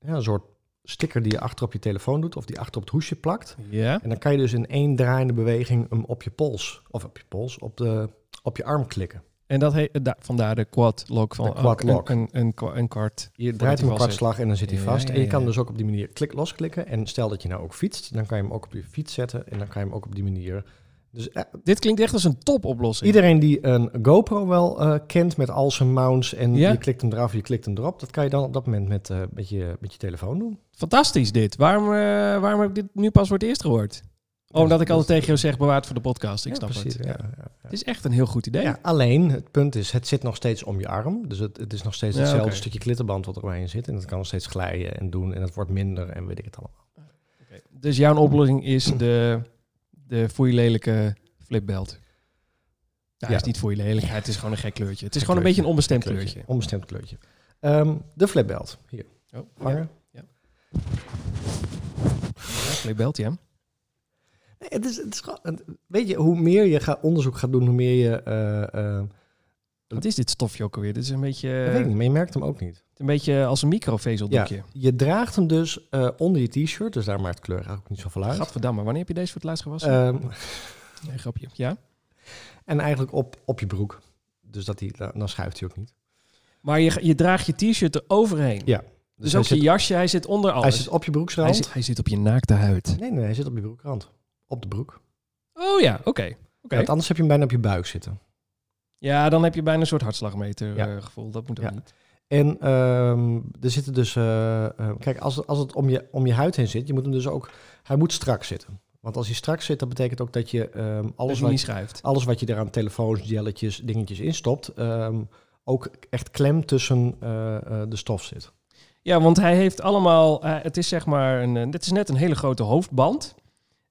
[SPEAKER 2] ja, een soort sticker die je achter op je telefoon doet of die achter op het hoesje plakt.
[SPEAKER 1] Ja.
[SPEAKER 2] En dan kan je dus in één draaiende beweging hem op je pols of op je pols op de op je arm klikken.
[SPEAKER 1] En dat heet... da- vandaar de kwadlok. Van,
[SPEAKER 2] De quadlock.
[SPEAKER 1] Een, een, een, kwa- een kwart.
[SPEAKER 2] Je
[SPEAKER 1] hij
[SPEAKER 2] draait hem een
[SPEAKER 1] vast
[SPEAKER 2] kwart
[SPEAKER 1] zit.
[SPEAKER 2] slag en dan zit hij
[SPEAKER 1] Ja,
[SPEAKER 2] vast.
[SPEAKER 1] ja,
[SPEAKER 2] En je
[SPEAKER 1] ja,
[SPEAKER 2] kan
[SPEAKER 1] ja.
[SPEAKER 2] dus ook op die manier klik losklikken. En stel dat je nou ook fietst, dan kan je hem ook op je fiets zetten. En dan kan je hem ook op die manier... Dus eh,
[SPEAKER 1] Dit klinkt echt als een topoplossing.
[SPEAKER 2] iedereen die een GoPro wel eh, kent met al zijn mounts... en
[SPEAKER 1] Ja.
[SPEAKER 2] je klikt hem eraf, je klikt hem erop... dat kan je dan op dat moment met, eh, met, je, met je telefoon doen.
[SPEAKER 1] Fantastisch dit. Waarom, eh, waarom heb ik dit nu pas voor het eerst gehoord? Oh, omdat ik
[SPEAKER 2] dat-
[SPEAKER 1] altijd tegen jou zeg, bewaard voor de podcast. Ik
[SPEAKER 2] Ja,
[SPEAKER 1] snap
[SPEAKER 2] precies,
[SPEAKER 1] het.
[SPEAKER 2] ja, ja, ja.
[SPEAKER 1] Het is echt een heel goed idee.
[SPEAKER 2] Ja, alleen, het punt is, het zit nog steeds om je arm. Dus het, het is nog steeds
[SPEAKER 1] Ja,
[SPEAKER 2] hetzelfde
[SPEAKER 1] oké.
[SPEAKER 2] stukje klittenband wat er omheen zit. En dat kan nog steeds glijden en doen. En het wordt minder en weet ik het allemaal.
[SPEAKER 1] Oké. Dus jouw oplossing is de, de voor je lelijke flipbelt. Nou,
[SPEAKER 2] Ja.
[SPEAKER 1] het is niet voor je lelijkheid, het is gewoon een gek kleurtje. Het is
[SPEAKER 2] Gek
[SPEAKER 1] gewoon een beetje een
[SPEAKER 2] kleurtje.
[SPEAKER 1] onbestemd
[SPEAKER 2] Kleurtje,
[SPEAKER 1] kleurtje.
[SPEAKER 2] Onbestemd kleurtje. Ehm, de flipbelt. Hier,
[SPEAKER 1] Oh,
[SPEAKER 2] vangen.
[SPEAKER 1] ja, flipbelt, ja.
[SPEAKER 2] Nee, Het is, het is gewoon- het- weet je, hoe meer je gaat onderzoek gaat doen, hoe meer je... eh, eh,
[SPEAKER 1] Wat is dit stofje ook alweer? Dit is een beetje,
[SPEAKER 2] dat weet ik niet, maar je merkt hem ook niet.
[SPEAKER 1] een beetje als een microvezeldoekje.
[SPEAKER 2] Je draagt hem dus eh, onder je t-shirt, dus daar maakt kleur eigenlijk ook niet zoveel uit.
[SPEAKER 1] Gadverdamme, wanneer heb je deze voor het laatst gewassen?
[SPEAKER 2] Ehm,
[SPEAKER 1] nee, grapje. Ja?
[SPEAKER 2] en eigenlijk op, op je broek. Dus dat die, dan schuift hij ook niet.
[SPEAKER 1] Maar je, je draagt je t-shirt er overheen.
[SPEAKER 2] Ja,
[SPEAKER 1] Dus,
[SPEAKER 2] hij
[SPEAKER 1] ook je
[SPEAKER 2] zit-
[SPEAKER 1] jasje, hij zit onder alles.
[SPEAKER 2] Hij zit op je broeksrand.
[SPEAKER 1] Hij zit, hij zit op je naakte huid.
[SPEAKER 2] Nee, nee, hij zit op je broekrand. Op de broek.
[SPEAKER 1] Oh ja, oké. Oké.
[SPEAKER 2] Want anders heb je hem bijna op je buik zitten.
[SPEAKER 1] Ja, dan heb je bijna een soort hartslagmeter
[SPEAKER 2] Ja.
[SPEAKER 1] eh, gevoel. Dat moet ook
[SPEAKER 2] Ja.
[SPEAKER 1] niet.
[SPEAKER 2] En ehm, er zitten dus... eh, eh, kijk, als, het- als het om je, om je huid heen zit, je moet hem dus ook... Hij moet strak zitten. Want als hij strak zit, dat betekent ook dat je ehm,
[SPEAKER 1] Alles
[SPEAKER 2] alles,
[SPEAKER 1] dus niet
[SPEAKER 2] wat,
[SPEAKER 1] schuift.
[SPEAKER 2] alles wat je eraan telefoons, jelletjes, dingetjes instopt... ehm, ook echt klem tussen eh, eh, de stof zit.
[SPEAKER 1] Ja, want hij heeft allemaal... eh, het is zeg maar... Een, eh, dit is net een hele grote hoofdband.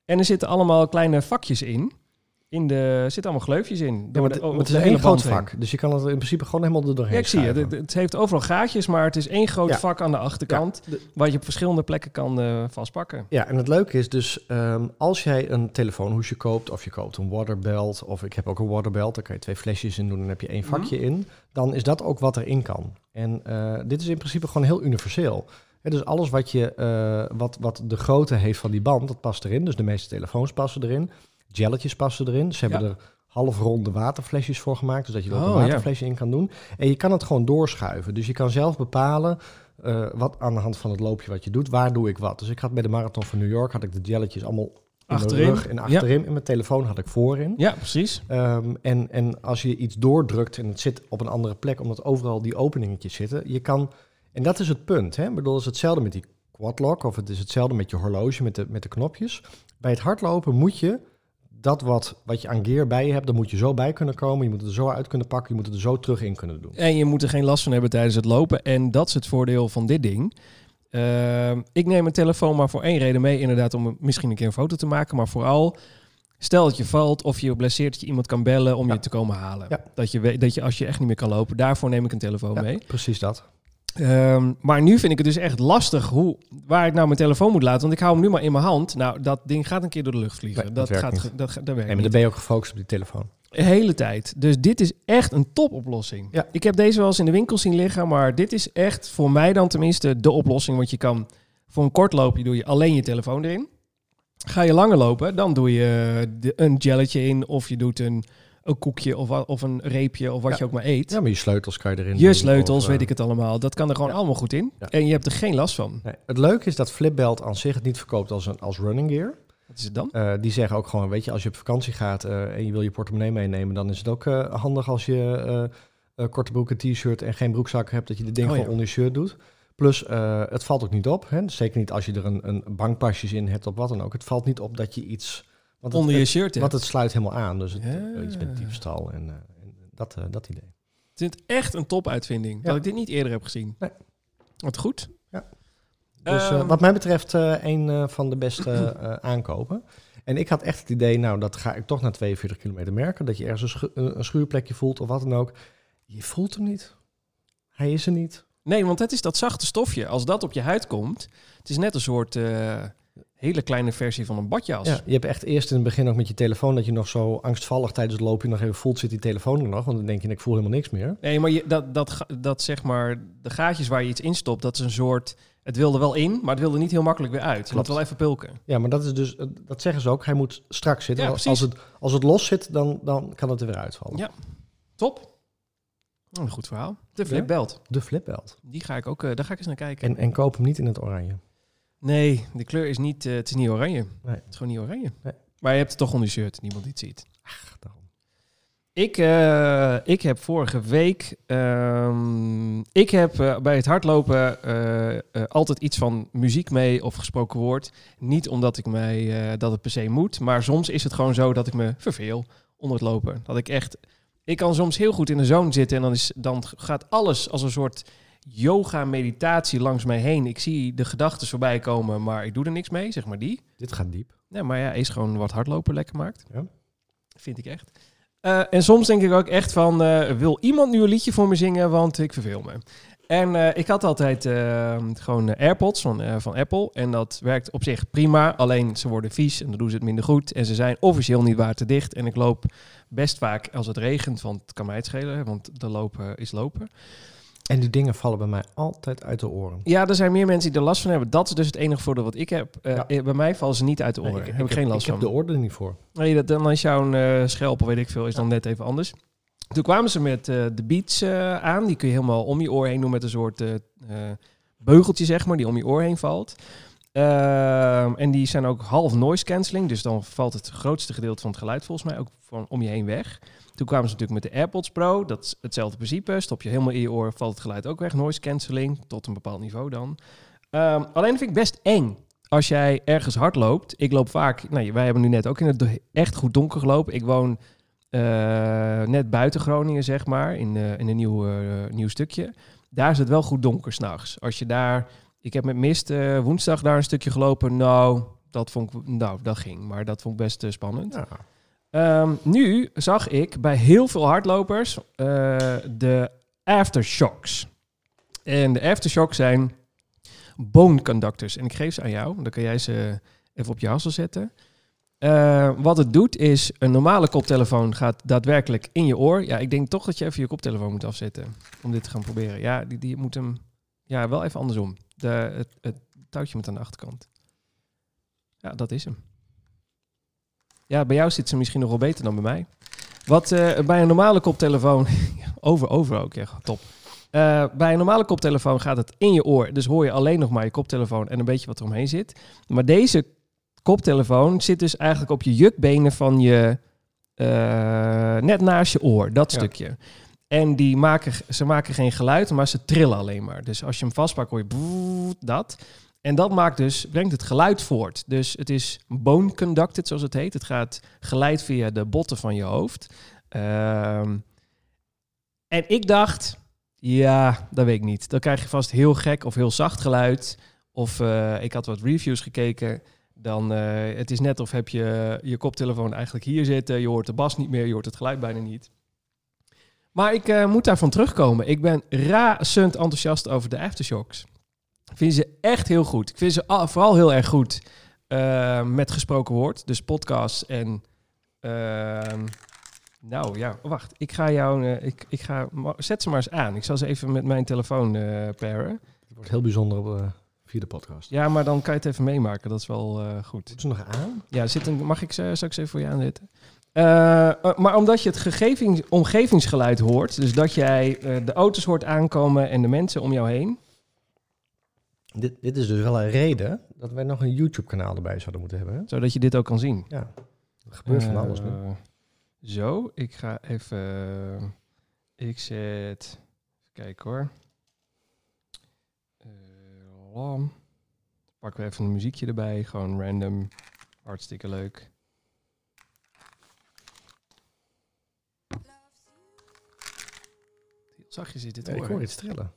[SPEAKER 1] En er zitten allemaal kleine vakjes in. in de, er zitten allemaal gleufjes in.
[SPEAKER 2] Ja,
[SPEAKER 1] Door de-
[SPEAKER 2] maar
[SPEAKER 1] oh,
[SPEAKER 2] het,
[SPEAKER 1] over
[SPEAKER 2] maar het
[SPEAKER 1] de
[SPEAKER 2] is
[SPEAKER 1] hele
[SPEAKER 2] één groot
[SPEAKER 1] band heen.
[SPEAKER 2] vak. Dus je kan het in principe gewoon helemaal er doorheen
[SPEAKER 1] Ja, ik zie je.
[SPEAKER 2] schuiven.
[SPEAKER 1] Het, het heeft overal gaatjes, maar het is één groot
[SPEAKER 2] Ja.
[SPEAKER 1] vak aan de achterkant.
[SPEAKER 2] Ja, de-
[SPEAKER 1] Waar je op verschillende plekken kan eh, vastpakken.
[SPEAKER 2] Ja, en het leuke is dus, ehm, als jij een telefoonhoesje koopt, of je koopt een waterbelt, of ik heb ook een waterbelt, daar kan je twee flesjes in doen, dan heb je
[SPEAKER 1] Mhm.
[SPEAKER 2] één vakje in, dan is dat ook wat erin kan. En eh, dit is in principe gewoon heel universeel. Hè, dus alles wat, je, eh, wat, wat de grootte heeft van die band, dat past erin. Dus de meeste telefoons passen erin, gelletjes passen erin. Ze hebben
[SPEAKER 1] Ja.
[SPEAKER 2] er halfronde waterflesjes voor gemaakt, dus dat je er ook
[SPEAKER 1] Oh,
[SPEAKER 2] een
[SPEAKER 1] ja.
[SPEAKER 2] waterflesje in kan doen. En je kan het gewoon doorschuiven. Dus je kan zelf bepalen eh, wat aan de hand van het loopje wat je doet, waar doe ik wat. Dus ik had bij de marathon van New York had ik de jelletjes allemaal in mijn
[SPEAKER 1] Achterin.
[SPEAKER 2] rug en achterin. En mijn telefoon had ik voorin.
[SPEAKER 1] Ja, precies.
[SPEAKER 2] Ehm, en, en als je iets doordrukt en het zit op een andere plek, omdat overal die openingetjes zitten, je kan. En dat is het punt. Hè? Ik bedoel, het is hetzelfde met die quadlock of het is hetzelfde met je horloge, met de, met de knopjes. Bij het hardlopen moet je dat wat, wat je aan gear bij je hebt, daar moet je zo bij kunnen komen. Je moet het er zo uit kunnen pakken, je moet het er zo terug in kunnen doen.
[SPEAKER 1] En je moet er geen last van hebben tijdens het lopen. En dat is het voordeel van dit ding. Ehm, ik neem mijn telefoon maar voor één reden mee. Inderdaad, om misschien een keer een foto te maken. Maar vooral, stel dat je valt of je blesseert, dat je iemand kan bellen om
[SPEAKER 2] Ja.
[SPEAKER 1] je te komen halen.
[SPEAKER 2] Ja.
[SPEAKER 1] Dat, je weet, dat je als je echt niet meer kan lopen, daarvoor neem ik een telefoon
[SPEAKER 2] Ja,
[SPEAKER 1] mee.
[SPEAKER 2] precies dat.
[SPEAKER 1] Ehm, maar nu vind ik het dus echt lastig hoe, waar ik nou mijn telefoon moet laten. Want ik hou hem nu maar in mijn hand. Nou, dat ding gaat een keer door de lucht vliegen.
[SPEAKER 2] Nee,
[SPEAKER 1] dat,
[SPEAKER 2] dat werkt
[SPEAKER 1] gaat,
[SPEAKER 2] niet.
[SPEAKER 1] ge- dat, ga- dat werkt
[SPEAKER 2] En
[SPEAKER 1] niet.
[SPEAKER 2] dan ben je ook gefocust op die telefoon.
[SPEAKER 1] De hele tijd. Dus dit is echt een topoplossing.
[SPEAKER 2] Ja.
[SPEAKER 1] Ik heb deze wel eens in de winkel zien liggen, maar dit is echt voor mij dan tenminste de oplossing. Want je kan voor een kort loopje doe je alleen je telefoon erin. Ga je langer lopen, dan doe je eh, de- een jelletje in of je doet een, een koekje of, wa- of een reepje of wat
[SPEAKER 2] Ja.
[SPEAKER 1] je ook maar eet.
[SPEAKER 2] Ja, maar je sleutels kan je erin
[SPEAKER 1] Je
[SPEAKER 2] doen,
[SPEAKER 1] sleutels,
[SPEAKER 2] of, eh,
[SPEAKER 1] weet ik het allemaal. Dat kan er gewoon
[SPEAKER 2] ja.
[SPEAKER 1] allemaal goed in.
[SPEAKER 2] Ja.
[SPEAKER 1] En je hebt er geen last van.
[SPEAKER 2] Nee, het leuke is dat Flipbelt aan zich het niet verkoopt als, een, als running gear.
[SPEAKER 1] Wat is het dan?
[SPEAKER 2] Eh, die zeggen ook gewoon, weet je, als je op vakantie gaat eh, en je wil je portemonnee meenemen, dan is het ook eh, handig als je eh, eh, korte broek, een t-shirt en geen broekzak hebt, dat je dit ding
[SPEAKER 1] Oh,
[SPEAKER 2] gewoon
[SPEAKER 1] ja.
[SPEAKER 2] onder je shirt doet. Plus, eh, het valt ook niet op, hè? zeker niet als je er een, een bankpasjes in hebt of wat dan ook. Het valt niet op dat je iets... Want het,
[SPEAKER 1] Onder je
[SPEAKER 2] het-
[SPEAKER 1] shirt. hè?
[SPEAKER 2] want het sluit helemaal aan, dus het,
[SPEAKER 1] Ja.
[SPEAKER 2] eh, iets met diefstal en, eh, en dat, eh, dat idee.
[SPEAKER 1] Ik vind het echt een topuitvinding.
[SPEAKER 2] Ja.
[SPEAKER 1] Dat ik dit niet eerder heb gezien.
[SPEAKER 2] Nee.
[SPEAKER 1] Wat goed.
[SPEAKER 2] Ja. Dus eh,
[SPEAKER 1] Ehm,
[SPEAKER 2] wat mij betreft eh, een eh, van de beste eh, <clears throat> aankopen. En ik had echt het idee, nou dat ga ik toch na 42 kilometer merken. Dat je ergens een, schu- een- een schuurplekje voelt of wat dan ook. Je voelt hem niet. Hij is er niet.
[SPEAKER 1] Nee, want het is dat zachte stofje. Als dat op je huid komt, het is net een soort eh, hele kleine versie van een badjas.
[SPEAKER 2] Ja, je hebt echt eerst in het begin ook met je telefoon dat je nog zo angstvallig tijdens het loopje nog even voelt zit die telefoon er nog. Want dan denk je, ik voel helemaal niks meer.
[SPEAKER 1] Nee, maar je, dat, dat, ga- dat zeg maar, de gaatjes waar je iets in stopt, dat is een soort. Het wilde wel in, maar het wilde niet heel makkelijk weer uit. Je moet
[SPEAKER 2] Klopt.
[SPEAKER 1] wel even pulken.
[SPEAKER 2] Ja, maar dat is dus, eh, dat zeggen ze ook. Hij moet strak zitten.
[SPEAKER 1] Ja,
[SPEAKER 2] als, als
[SPEAKER 1] precies.
[SPEAKER 2] het, als het los zit, dan, dan kan het er weer uitvallen.
[SPEAKER 1] Ja. Top. Oh, een goed verhaal. De
[SPEAKER 2] Ja.
[SPEAKER 1] flipbelt.
[SPEAKER 2] De flipbelt.
[SPEAKER 1] Die ga ik ook, eh, daar ga ik eens naar kijken.
[SPEAKER 2] En, en koop hem niet in het oranje.
[SPEAKER 1] Nee, de kleur is niet, eh, het is niet oranje.
[SPEAKER 2] Nee.
[SPEAKER 1] Het is gewoon niet oranje.
[SPEAKER 2] Nee.
[SPEAKER 1] Maar je hebt het toch onder je shirt, niemand die het ziet.
[SPEAKER 2] Ach, daarom.
[SPEAKER 1] Ik, eh, ik heb vorige week. ehm, ik heb eh, bij het hardlopen eh, eh, altijd iets van muziek mee of gesproken woord. Niet omdat ik mij eh, dat het per se moet. Maar soms is het gewoon zo dat ik me verveel onder het lopen. Dat ik echt. Ik kan soms heel goed in de zone zitten en dan, is, dan gaat alles als een soort yoga-meditatie langs mij heen. Ik zie de gedachten voorbij komen, maar ik doe er niks mee, zeg maar die.
[SPEAKER 2] Dit gaat diep.
[SPEAKER 1] Nee, maar ja, is gewoon wat hardlopen lekker maakt.
[SPEAKER 2] Ja.
[SPEAKER 1] Vind ik echt. Eh, en soms denk ik ook echt van, eh, wil iemand nu een liedje voor me zingen, want ik verveel me. En eh, ik had altijd eh, gewoon eh, AirPods van, eh, van Apple. En dat werkt op zich prima. Alleen ze worden vies en dan doen ze het minder goed. En ze zijn officieel niet waterdicht. En ik loop best vaak als het regent, want het kan mij het schelen. Want de lopen is lopen.
[SPEAKER 2] En die dingen vallen bij mij altijd uit de oren.
[SPEAKER 1] Ja, er zijn meer mensen die er last van hebben. Dat is dus het enige voordeel wat ik heb. Eh,
[SPEAKER 2] Ja.
[SPEAKER 1] eh, Bij mij vallen ze niet uit de oren.
[SPEAKER 2] Nee,
[SPEAKER 1] heb ik geen last
[SPEAKER 2] Ik
[SPEAKER 1] van.
[SPEAKER 2] heb de orde niet voor.
[SPEAKER 1] Nee, dat, dan is jouw eh schelp, of weet ik veel, is dan net even anders. Toen kwamen ze met eh, de beats eh, aan. Die kun je helemaal om je oor heen doen met een soort eh, eh, beugeltje, zeg maar, die om je oor heen valt. Ehm, en die zijn ook half noise cancelling. Dus dan valt het grootste gedeelte van het geluid volgens mij ook van om je heen weg. Toen kwamen ze natuurlijk met de AirPods Pro. Dat is hetzelfde principe. Stop je helemaal in je oor, valt het geluid ook weg. Noise cancelling, tot een bepaald niveau dan. Ehm, alleen vind ik best eng. Als jij ergens hard loopt. Ik loop vaak... Nou, wij hebben nu net ook in het do- echt goed donker gelopen. Ik woon eh, net buiten Groningen, zeg maar. In, eh, in een nieuw, eh, nieuw stukje. Daar is het wel goed donker s'nachts. Als je daar... Ik heb met mist eh, woensdag daar een stukje gelopen. Nou, dat vond ik... Nou, dat ging. Maar dat vond ik best eh, spannend.
[SPEAKER 2] Ja.
[SPEAKER 1] Ehm, nu zag ik bij heel veel hardlopers eh, de aftershocks. En de aftershocks zijn bone conductors. En ik geef ze aan jou. Dan kan jij ze even op je hassel zetten. Eh, wat het doet is, een normale koptelefoon gaat daadwerkelijk in je oor. Ja, ik denk toch dat je even je koptelefoon moet afzetten om dit te gaan proberen. Ja, die, die moet hem... Ja, wel even andersom. De, het, het touwtje moet aan de achterkant. Ja, dat is hem. Ja, bij jou zit ze misschien nog wel beter dan bij mij. Wat eh, bij een normale koptelefoon... <laughs> Ja, over, over ook, ja, top. Eh, bij een normale koptelefoon gaat het in je oor. Dus hoor je alleen nog maar je koptelefoon en een beetje wat eromheen zit. Maar deze koptelefoon zit dus eigenlijk op je jukbenen van je... eh, net naast je oor, dat
[SPEAKER 2] Ja.
[SPEAKER 1] stukje. En die maken, ze maken geen geluid, maar ze trillen alleen maar. Dus als je hem vastpakt, hoor je boe- dat. En dat maakt dus, brengt het geluid voort. Dus het is bone conducted, zoals het heet. Het gaat geleid via de botten van je hoofd. Ehm, en ik dacht, ja, dat weet ik niet. Dan krijg je vast heel gek of heel zacht geluid. Of eh, ik had wat reviews gekeken. Dan, eh, het is net of heb je je koptelefoon eigenlijk hier zitten. Je hoort de bas niet meer, je hoort het geluid bijna niet. Maar ik eh, moet daarvan terugkomen. Ik ben razend enthousiast over de aftershocks. Ik vind ze echt heel goed. Ik vind ze al- vooral heel erg goed eh, met gesproken woord. Dus podcasts en... ehm, nou ja, wacht. Ik ga jou... eh, ik, ik ga, ma- zet ze maar eens aan. Ik zal ze even met mijn telefoon eh paren.
[SPEAKER 2] Het wordt heel bijzonder op, eh, via de podcast.
[SPEAKER 1] Ja, maar dan kan je het even meemaken. Dat is wel eh, goed.
[SPEAKER 2] Moeten ze nog aan?
[SPEAKER 1] Ja, zit een, mag ik ze straks even voor je aanzetten? Eh, eh, maar omdat je het gegevings, omgevingsgeluid hoort, dus dat jij eh, de auto's hoort aankomen en de mensen om jou heen.
[SPEAKER 2] Dit, dit is dus wel een reden dat wij nog een YouTube-kanaal erbij zouden moeten hebben. hè?
[SPEAKER 1] Zodat je dit ook kan zien.
[SPEAKER 2] Ja, er gebeurt van
[SPEAKER 1] Eh,
[SPEAKER 2] alles nu.
[SPEAKER 1] Zo, ik ga even. Ik zet. Even kijken hoor. Eh, lam. Pakken we even een muziekje erbij. Gewoon random. Hartstikke leuk. Heel Zachtjes zit dit
[SPEAKER 2] Ja, ik hoor iets trillen.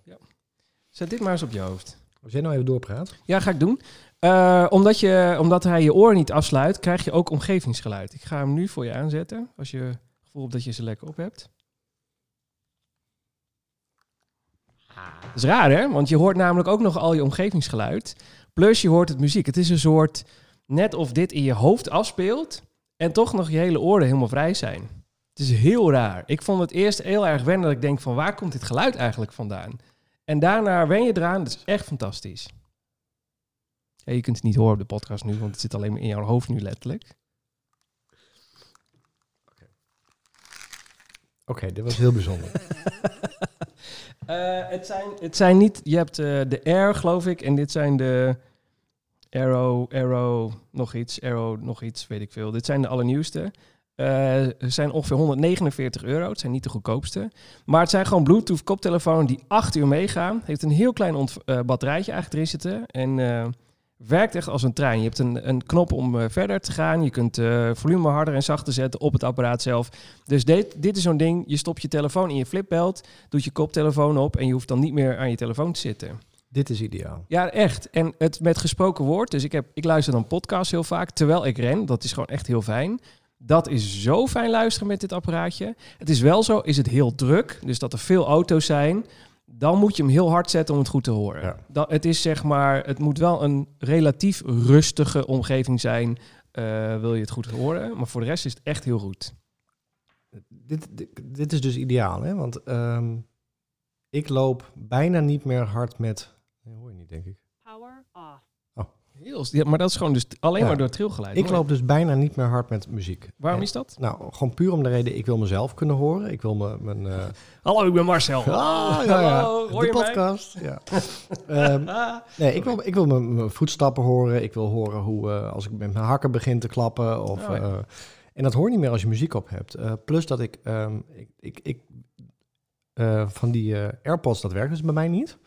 [SPEAKER 1] Zet dit maar eens op je hoofd.
[SPEAKER 2] Als jij nou even doorpraat.
[SPEAKER 1] Ja, ga ik doen. Eh, omdat, je, omdat hij je oor niet afsluit, krijg je ook omgevingsgeluid. Ik ga hem nu voor je aanzetten, als je het gevoel hebt dat je ze lekker op hebt. Dat is raar, hè? Want je hoort namelijk ook nog al je omgevingsgeluid. Plus je hoort het muziek. Het is een soort, net of dit in je hoofd afspeelt en toch nog je hele oren helemaal vrij zijn. Het is heel raar. Ik vond het eerst heel erg wennen dat ik denk van waar komt dit geluid eigenlijk vandaan? En daarna wen je eraan. Dat is echt fantastisch. Ja, je kunt het niet horen op de podcast nu, want het zit alleen maar in jouw hoofd nu letterlijk.
[SPEAKER 2] Oké, dit was heel bijzonder. <laughs>
[SPEAKER 1] Eh, het, zijn, het zijn niet... Je hebt eh, de Air, geloof ik, en dit zijn de Arrow, Arrow, nog iets, Arrow, nog iets, weet ik veel. Dit zijn de allernieuwste. Eh ze zijn ongeveer 149 euro. Het zijn niet de goedkoopste. Maar het zijn gewoon Bluetooth koptelefoon die 8 uur meegaan. Heeft een heel klein ont- eh, batterijtje eigenlijk erin zitten. En eh, werkt echt als een trein. Je hebt een, een knop om eh, verder te gaan. Je kunt eh, volume harder en zachter zetten op het apparaat zelf. Dus dit, dit is zo'n ding. Je stopt je telefoon in je flipbelt, doet je koptelefoon op en je hoeft dan niet meer aan je telefoon te zitten.
[SPEAKER 2] Dit is ideaal.
[SPEAKER 1] Ja, echt. En het met gesproken woord. Dus ik, heb, ik luister dan podcasts heel vaak terwijl ik ren. Dat is gewoon echt heel fijn. Dat is zo fijn luisteren met dit apparaatje. Het is wel zo, is het heel druk. Dus dat er veel auto's zijn. Dan moet je hem heel hard zetten om het goed te horen.
[SPEAKER 2] Ja.
[SPEAKER 1] Dat, het is zeg maar, het moet wel een relatief rustige omgeving zijn. eh, wil je het goed horen. Maar voor de rest is het echt heel goed.
[SPEAKER 2] Dit, dit, dit is dus ideaal, hè? Want ehm, ik loop bijna niet meer hard met... Nee, hoor je niet, denk ik.
[SPEAKER 3] Power off.
[SPEAKER 1] Heel, ja, maar dat is gewoon dus alleen
[SPEAKER 2] Ja.
[SPEAKER 1] maar door het trilgeluid.
[SPEAKER 2] Ik
[SPEAKER 1] hoor.
[SPEAKER 2] loop dus bijna niet meer hard met muziek.
[SPEAKER 1] Waarom
[SPEAKER 2] En-
[SPEAKER 1] is dat?
[SPEAKER 2] Nou, gewoon puur om de reden, ik wil mezelf kunnen horen. Ik wil me- mijn... eh,
[SPEAKER 1] Hallo, ik ben Marcel. <laughs>
[SPEAKER 2] Ah, ja, ja.
[SPEAKER 1] Hallo, hoor
[SPEAKER 2] de
[SPEAKER 1] je mij? <laughs>
[SPEAKER 2] podcast. Ja. Ehm,
[SPEAKER 1] Ah.
[SPEAKER 2] nee, ik wil, ik wil mijn, mijn voetstappen horen. Ik wil horen hoe eh, als ik met mijn hakken begin te klappen. Of,
[SPEAKER 1] Oh, ja.
[SPEAKER 2] eh, en dat hoor je niet meer als je muziek op hebt. Eh, plus dat ik, ehm, ik, ik, ik eh, van die eh, AirPods, dat werkt dus bij mij niet.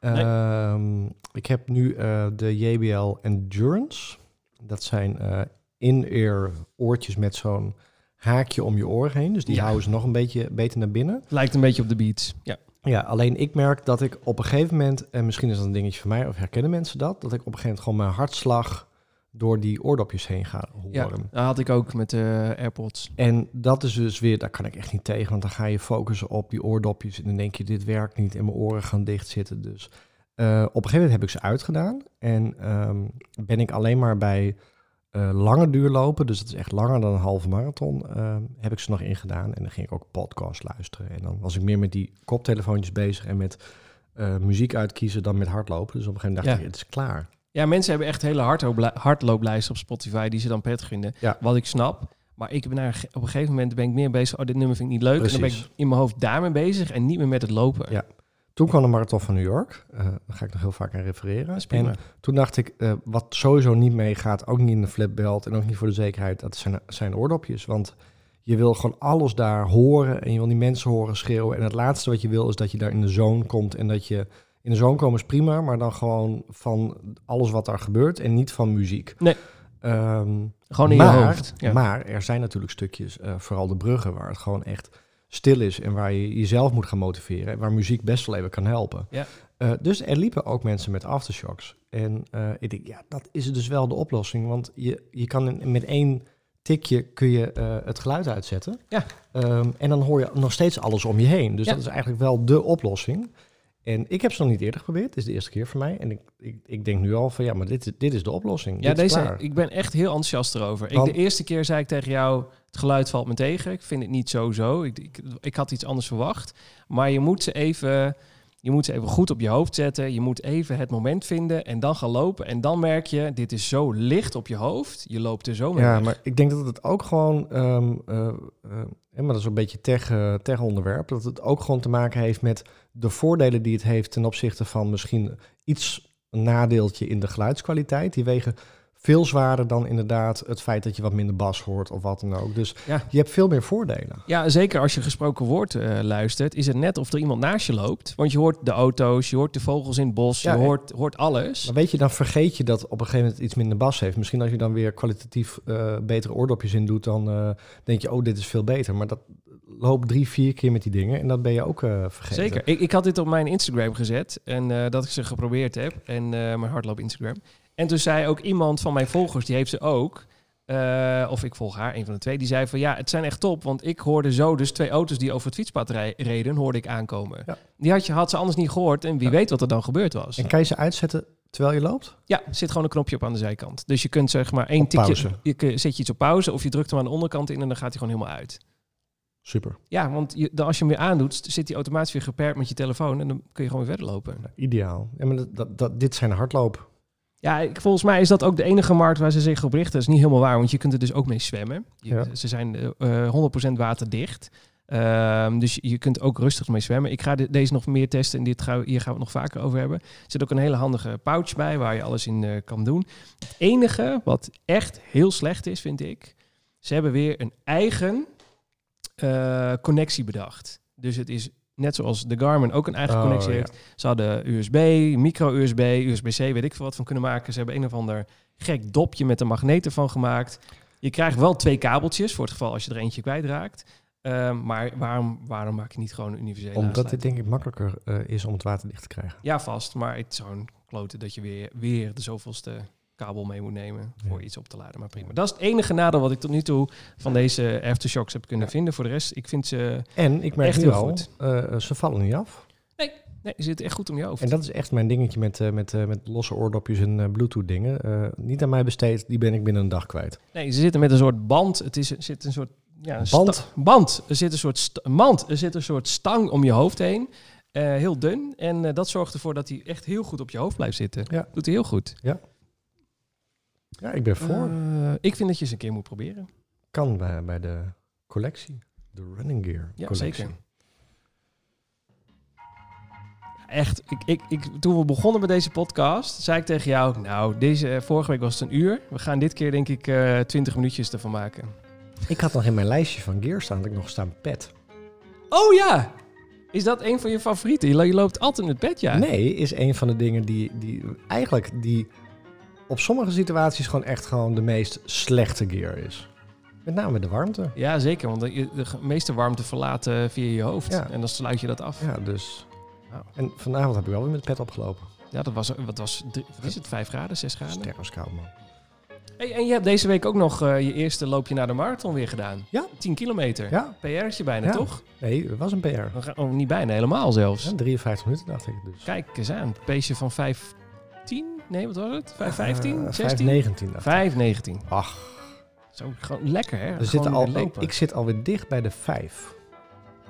[SPEAKER 1] Nee.
[SPEAKER 2] Ehm, ik heb nu eh, de JBL Endurance. Dat zijn eh, in-ear oortjes met zo'n haakje om je oor heen. Dus die
[SPEAKER 1] Ja.
[SPEAKER 2] houden ze nog een beetje beter naar binnen.
[SPEAKER 1] Het lijkt een beetje op de beats. Ja.
[SPEAKER 2] Ja, alleen ik merk dat ik op een gegeven moment, en misschien is dat een dingetje van mij, of herkennen mensen dat, dat ik op een gegeven moment gewoon mijn hartslag door die oordopjes heen ga
[SPEAKER 1] Ja,
[SPEAKER 2] horen.
[SPEAKER 1] dat had ik ook met de AirPods.
[SPEAKER 2] En dat is dus weer, daar kan ik echt niet tegen, want dan ga je focussen op die oordopjes en dan denk je, dit werkt niet en mijn oren gaan dicht zitten. Dus eh, op een gegeven moment heb ik ze uitgedaan en ehm, ben ik alleen maar bij eh, lange duurlopen, dus dat is echt langer dan een halve marathon, ehm, heb ik ze nog ingedaan. En dan ging ik ook podcast luisteren. En dan was ik meer met die koptelefoontjes bezig en met eh, muziek uitkiezen dan met hardlopen. Dus op een gegeven moment dacht
[SPEAKER 1] Ja.
[SPEAKER 2] ik, het is klaar.
[SPEAKER 1] Ja, mensen hebben echt hele hardloopla- hardlooplijsten op Spotify die ze dan prettig vinden.
[SPEAKER 2] Ja.
[SPEAKER 1] Wat ik snap. Maar ik ben daar, op een gegeven moment ben ik meer bezig. Oh, dit nummer vind ik niet leuk. En dan ben ik
[SPEAKER 2] Precies.
[SPEAKER 1] in mijn hoofd daarmee bezig en niet meer met het lopen.
[SPEAKER 2] Ja. Toen kwam de Marathon van New York. Eh, daar ga ik nog heel vaak aan refereren.
[SPEAKER 1] Dat is prima.
[SPEAKER 2] En toen dacht ik, eh, wat sowieso niet meegaat, ook niet in de flipbelt en ook niet voor de zekerheid, dat zijn, zijn oordopjes. Want je wil gewoon alles daar horen en je wil die mensen horen schreeuwen. En het laatste wat je wil is dat je daar in de zone komt en dat je... In de zone komen is prima, maar dan gewoon van alles wat daar gebeurt en niet van muziek.
[SPEAKER 1] Nee.
[SPEAKER 2] Ehm,
[SPEAKER 1] Gewoon in
[SPEAKER 2] maar,
[SPEAKER 1] je hoofd. Ja.
[SPEAKER 2] Maar er zijn natuurlijk stukjes, eh, vooral de bruggen, waar het gewoon echt stil is en waar je jezelf moet gaan motiveren en waar muziek best wel even kan helpen.
[SPEAKER 1] Ja.
[SPEAKER 2] Eh, dus er liepen ook mensen met aftershocks. En eh, ik denk, ja, dat is dus wel de oplossing, want je, je kan in- met één tikje kun je eh, het geluid uitzetten.
[SPEAKER 1] Ja.
[SPEAKER 2] Ehm, en dan hoor je nog steeds alles om je heen. Dus
[SPEAKER 1] Ja.
[SPEAKER 2] dat is eigenlijk wel de oplossing. En ik heb ze nog niet eerder geprobeerd. Het is de eerste keer voor mij. En ik, ik, ik denk nu al van ja, maar dit, is- dit is de oplossing.
[SPEAKER 1] ja,
[SPEAKER 2] Dit is
[SPEAKER 1] deze,
[SPEAKER 2] klaar.
[SPEAKER 1] ik ben echt heel enthousiast erover.
[SPEAKER 2] Want-
[SPEAKER 1] Ik, de eerste keer zei ik tegen jou, het geluid valt me tegen. Ik vind het niet zo zo. Ik, ik, ik had iets anders verwacht. Maar je moet, ze even, je moet ze even goed op je hoofd zetten. Je moet even het moment vinden en dan gaan lopen. En dan merk je, dit is zo licht op je hoofd. Je loopt er zo mee
[SPEAKER 2] Ja,
[SPEAKER 1] weg.
[SPEAKER 2] maar ik denk dat het ook gewoon, ehm, eh, eh, hè, maar dat is een beetje tech, eh, tech onderwerp, dat het ook gewoon te maken heeft met de voordelen die het heeft ten opzichte van misschien iets een nadeeltje in de geluidskwaliteit. Die wegen veel zwaarder dan inderdaad het feit dat je wat minder bas hoort of wat dan ook. Dus
[SPEAKER 1] Ja.
[SPEAKER 2] je hebt veel meer voordelen.
[SPEAKER 1] Ja, zeker als je gesproken woord eh, luistert, is het net of er iemand naast je loopt. Want je hoort de auto's, je hoort de vogels in het bos,
[SPEAKER 2] Ja,
[SPEAKER 1] je
[SPEAKER 2] en-
[SPEAKER 1] hoort, hoort alles.
[SPEAKER 2] Maar weet je, dan vergeet je dat op een gegeven moment het iets minder bas heeft. Misschien als je dan weer kwalitatief eh, betere oordopjes in doet, dan eh, denk je, oh, dit is veel beter. Maar dat loopt drie, vier keer met die dingen en dat ben je ook eh, vergeten.
[SPEAKER 1] Zeker. Ik, ik had dit op mijn Instagram gezet en eh, dat ik ze geprobeerd heb. En eh, mijn hardloop Instagram. En toen zei ook iemand van mijn volgers, die heeft ze ook. eh, of ik volg haar, een van de twee. Die zei van ja, het zijn echt top. Want ik hoorde zo dus twee auto's die over het fietspad rij- reden, hoorde ik aankomen.
[SPEAKER 2] Ja.
[SPEAKER 1] Die had, je, had ze anders niet gehoord. En wie weet wat er dan gebeurd was.
[SPEAKER 2] En kan je ze uitzetten terwijl je loopt?
[SPEAKER 1] Ja, er zit gewoon een knopje op aan de zijkant. Dus je kunt zeg maar één
[SPEAKER 2] Op
[SPEAKER 1] tikje...
[SPEAKER 2] pauze.
[SPEAKER 1] Je kun- zet je iets op pauze of je drukt hem aan de onderkant in en dan gaat hij gewoon helemaal uit.
[SPEAKER 2] Super.
[SPEAKER 1] Ja, want je, dan als je hem weer aandoet, st- zit hij automatisch weer geperkt met je telefoon en dan kun je gewoon weer verder lopen.
[SPEAKER 2] Ideaal. Ja, maar dat, dat, dat- dit zijn hardloop.
[SPEAKER 1] Ja, ik, volgens mij is dat ook de enige markt waar ze zich op richten. Dat is niet helemaal waar, want je kunt er dus ook mee zwemmen. Je-
[SPEAKER 2] Ja.
[SPEAKER 1] Ze zijn eh, eh, 100% waterdicht. Ehm, dus je- je kunt ook rustig mee zwemmen. Ik ga de- deze nog meer testen en dit gaan we- hier gaan we het nog vaker over hebben. Er zit ook een hele handige pouch bij waar je alles in eh, kan doen. Het enige wat echt heel slecht is, vind ik, ze hebben weer een eigen eh, connectie bedacht. Dus het is net zoals de Garmin ook een eigen
[SPEAKER 2] Oh,
[SPEAKER 1] connectie
[SPEAKER 2] ja.
[SPEAKER 1] heeft. Ze hadden USB, micro-USB, USB-C, weet ik veel wat van kunnen maken. Ze hebben een of ander gek dopje met een magneet ervan gemaakt. Je krijgt wel twee kabeltjes, voor het geval als je er eentje kwijtraakt. Ehm, maar waarom, waarom maak je niet gewoon een universele
[SPEAKER 2] Omdat
[SPEAKER 1] aansluiting?
[SPEAKER 2] dit denk ik makkelijker eh, is om het waterdicht te krijgen.
[SPEAKER 1] Ja, vast. Maar het is zo'n klote dat je weer, weer de zoveelste kabel mee moet nemen voor
[SPEAKER 2] Ja.
[SPEAKER 1] iets op te laden. Maar prima. Dat is het enige nadeel wat ik tot nu toe van deze aftershocks heb kunnen vinden. Voor de rest, ik vind ze...
[SPEAKER 2] En ik merk
[SPEAKER 1] Echt
[SPEAKER 2] nu
[SPEAKER 1] heel
[SPEAKER 2] al,
[SPEAKER 1] goed.
[SPEAKER 2] eh, ze vallen niet af.
[SPEAKER 1] Nee, ze zitten echt goed om je hoofd.
[SPEAKER 2] En dat is echt mijn dingetje met, eh, met, eh, met losse oordopjes en eh, bluetooth dingen. Eh, niet aan mij besteed, die ben ik binnen een dag kwijt.
[SPEAKER 1] Nee, ze zitten met een soort band. Het is, er zit een soort... Ja, een
[SPEAKER 2] Band?
[SPEAKER 1] sta- band. Er zit een soort sta- mand. Er zit een soort stang om je hoofd heen. Eh, heel dun. En eh, dat zorgt ervoor dat hij echt heel goed op je hoofd blijft zitten.
[SPEAKER 2] Ja.
[SPEAKER 1] Doet hij heel goed.
[SPEAKER 2] Ja, ik ben voor.
[SPEAKER 1] Eh, ik vind dat je eens een keer moet proberen.
[SPEAKER 2] Kan bij, bij de collectie. De running gear
[SPEAKER 1] Ja,
[SPEAKER 2] collectie.
[SPEAKER 1] zeker. Echt, ik, ik, ik, toen we begonnen met deze podcast, zei ik tegen jou... Nou, deze, eh, vorige week was het een uur. We gaan dit keer denk ik eh 20 minuutjes ervan maken.
[SPEAKER 2] Ik had nog in mijn lijstje van gear staan dat ik nog staan pet.
[SPEAKER 1] Oh ja! Is dat een van je favorieten? Je, lo- je loopt altijd in het bed, ja.
[SPEAKER 2] Nee, is een van de dingen die, die eigenlijk die op sommige situaties gewoon echt gewoon de meest slechte gear is. Met name de warmte.
[SPEAKER 1] Ja, zeker. Want de, de ge- meeste warmte verlaat eh, via je hoofd.
[SPEAKER 2] Ja.
[SPEAKER 1] En dan sluit je dat af. Ja,
[SPEAKER 2] Ja, dus.
[SPEAKER 1] Wauw.
[SPEAKER 2] En vanavond heb ik wel weer met pet opgelopen.
[SPEAKER 1] dat was... Wat was drie- wat is het? Vijf graden? Zes graden?
[SPEAKER 2] Sterrenskoud, man.
[SPEAKER 1] Hey, en je hebt deze week ook nog eh, je eerste loopje naar de marathon weer gedaan.
[SPEAKER 2] Ja.
[SPEAKER 1] 10 kilometer.
[SPEAKER 2] Ja,
[SPEAKER 1] PR'tje bijna,
[SPEAKER 2] Ja.
[SPEAKER 1] toch?
[SPEAKER 2] nee, het was een PR. Ja,
[SPEAKER 1] We gaan, oh, niet bijna, helemaal zelfs.
[SPEAKER 2] 53 minuten dacht ik dus.
[SPEAKER 1] Kijk eens aan. Peesje van 15? Nee, wat was het? 515?
[SPEAKER 2] Eh,
[SPEAKER 1] 16?
[SPEAKER 2] 519 dacht ik.
[SPEAKER 1] 519.
[SPEAKER 2] Ach,
[SPEAKER 1] Zo, gewoon lekker, hè?
[SPEAKER 2] we
[SPEAKER 1] Gewoon
[SPEAKER 2] zitten al, ik,
[SPEAKER 1] lopen.
[SPEAKER 2] ik zit alweer dicht bij de 5.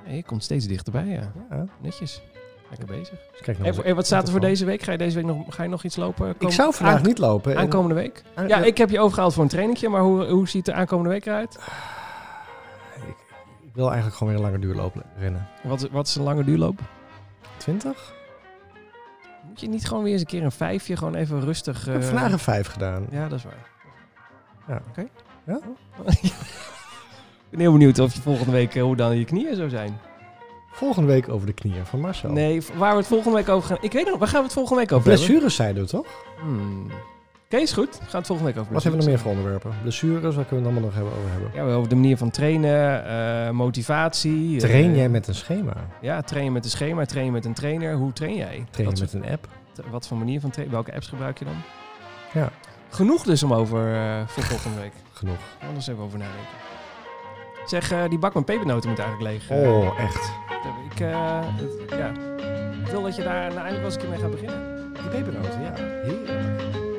[SPEAKER 1] Nee, je komt steeds dichterbij, ja.
[SPEAKER 2] Ja.
[SPEAKER 1] Netjes. Lekker bezig.
[SPEAKER 2] Dus kijk naar
[SPEAKER 1] En,
[SPEAKER 2] onze-
[SPEAKER 1] en wat staat er voor
[SPEAKER 2] interval.
[SPEAKER 1] deze week? Ga je deze week nog, ga je nog iets lopen?
[SPEAKER 2] Ik
[SPEAKER 1] Kom-
[SPEAKER 2] zou vandaag
[SPEAKER 1] aank-
[SPEAKER 2] niet lopen. En-
[SPEAKER 1] Aankomende week?
[SPEAKER 2] aan-
[SPEAKER 1] Ja, ik heb je overgehaald voor een trainingje, maar hoe, hoe ziet de aankomende week eruit?
[SPEAKER 2] Ik wil eigenlijk gewoon weer een lange duurloop rennen.
[SPEAKER 1] Wat, wat is een lange duurloop?
[SPEAKER 2] 20?
[SPEAKER 1] Moet je niet gewoon weer eens een keer een vijfje, gewoon even rustig...
[SPEAKER 2] ik heb
[SPEAKER 1] eh,
[SPEAKER 2] vandaag een 5 gedaan.
[SPEAKER 1] Ja, dat is waar.
[SPEAKER 2] Ja.
[SPEAKER 1] Oké.
[SPEAKER 2] Ja?
[SPEAKER 1] <laughs> ik ben heel benieuwd of je volgende week eh, hoe dan je knieën zou zijn.
[SPEAKER 2] Volgende week over de knieën van Marcel.
[SPEAKER 1] Nee, v- waar we het volgende week over gaan. Ik weet nog, waar gaan we het volgende week over hebben?
[SPEAKER 2] Blessures zeiden we toch?
[SPEAKER 1] Hmm. Oké, is goed. We gaan het volgende week over
[SPEAKER 2] Wat hebben we nog meer voor onderwerpen? Blessures, waar kunnen we het allemaal nog hebben over hebben?
[SPEAKER 1] Ja, over de manier van trainen, eh, motivatie. eh,
[SPEAKER 2] Train jij met een schema?
[SPEAKER 1] Ja, trainen met een schema, trainen met een trainer. Hoe train jij?
[SPEAKER 2] Train
[SPEAKER 1] Wat
[SPEAKER 2] je met een app?
[SPEAKER 1] soort- Wat voor manier van trainen? Welke apps gebruik je dan?
[SPEAKER 2] Ja.
[SPEAKER 1] Genoeg dus om over eh, voor volgende week.
[SPEAKER 2] Genoeg.
[SPEAKER 1] Anders even over nadenken. Zeg, eh, die bak met pepernoten moet eigenlijk leeg. eh.
[SPEAKER 2] Oh, echt.
[SPEAKER 1] Ik, eh, het- ja. ik wil dat je daar nou eindelijk wel eens een keer mee gaat beginnen.
[SPEAKER 2] Die pepernoten, ja. Heerlijk.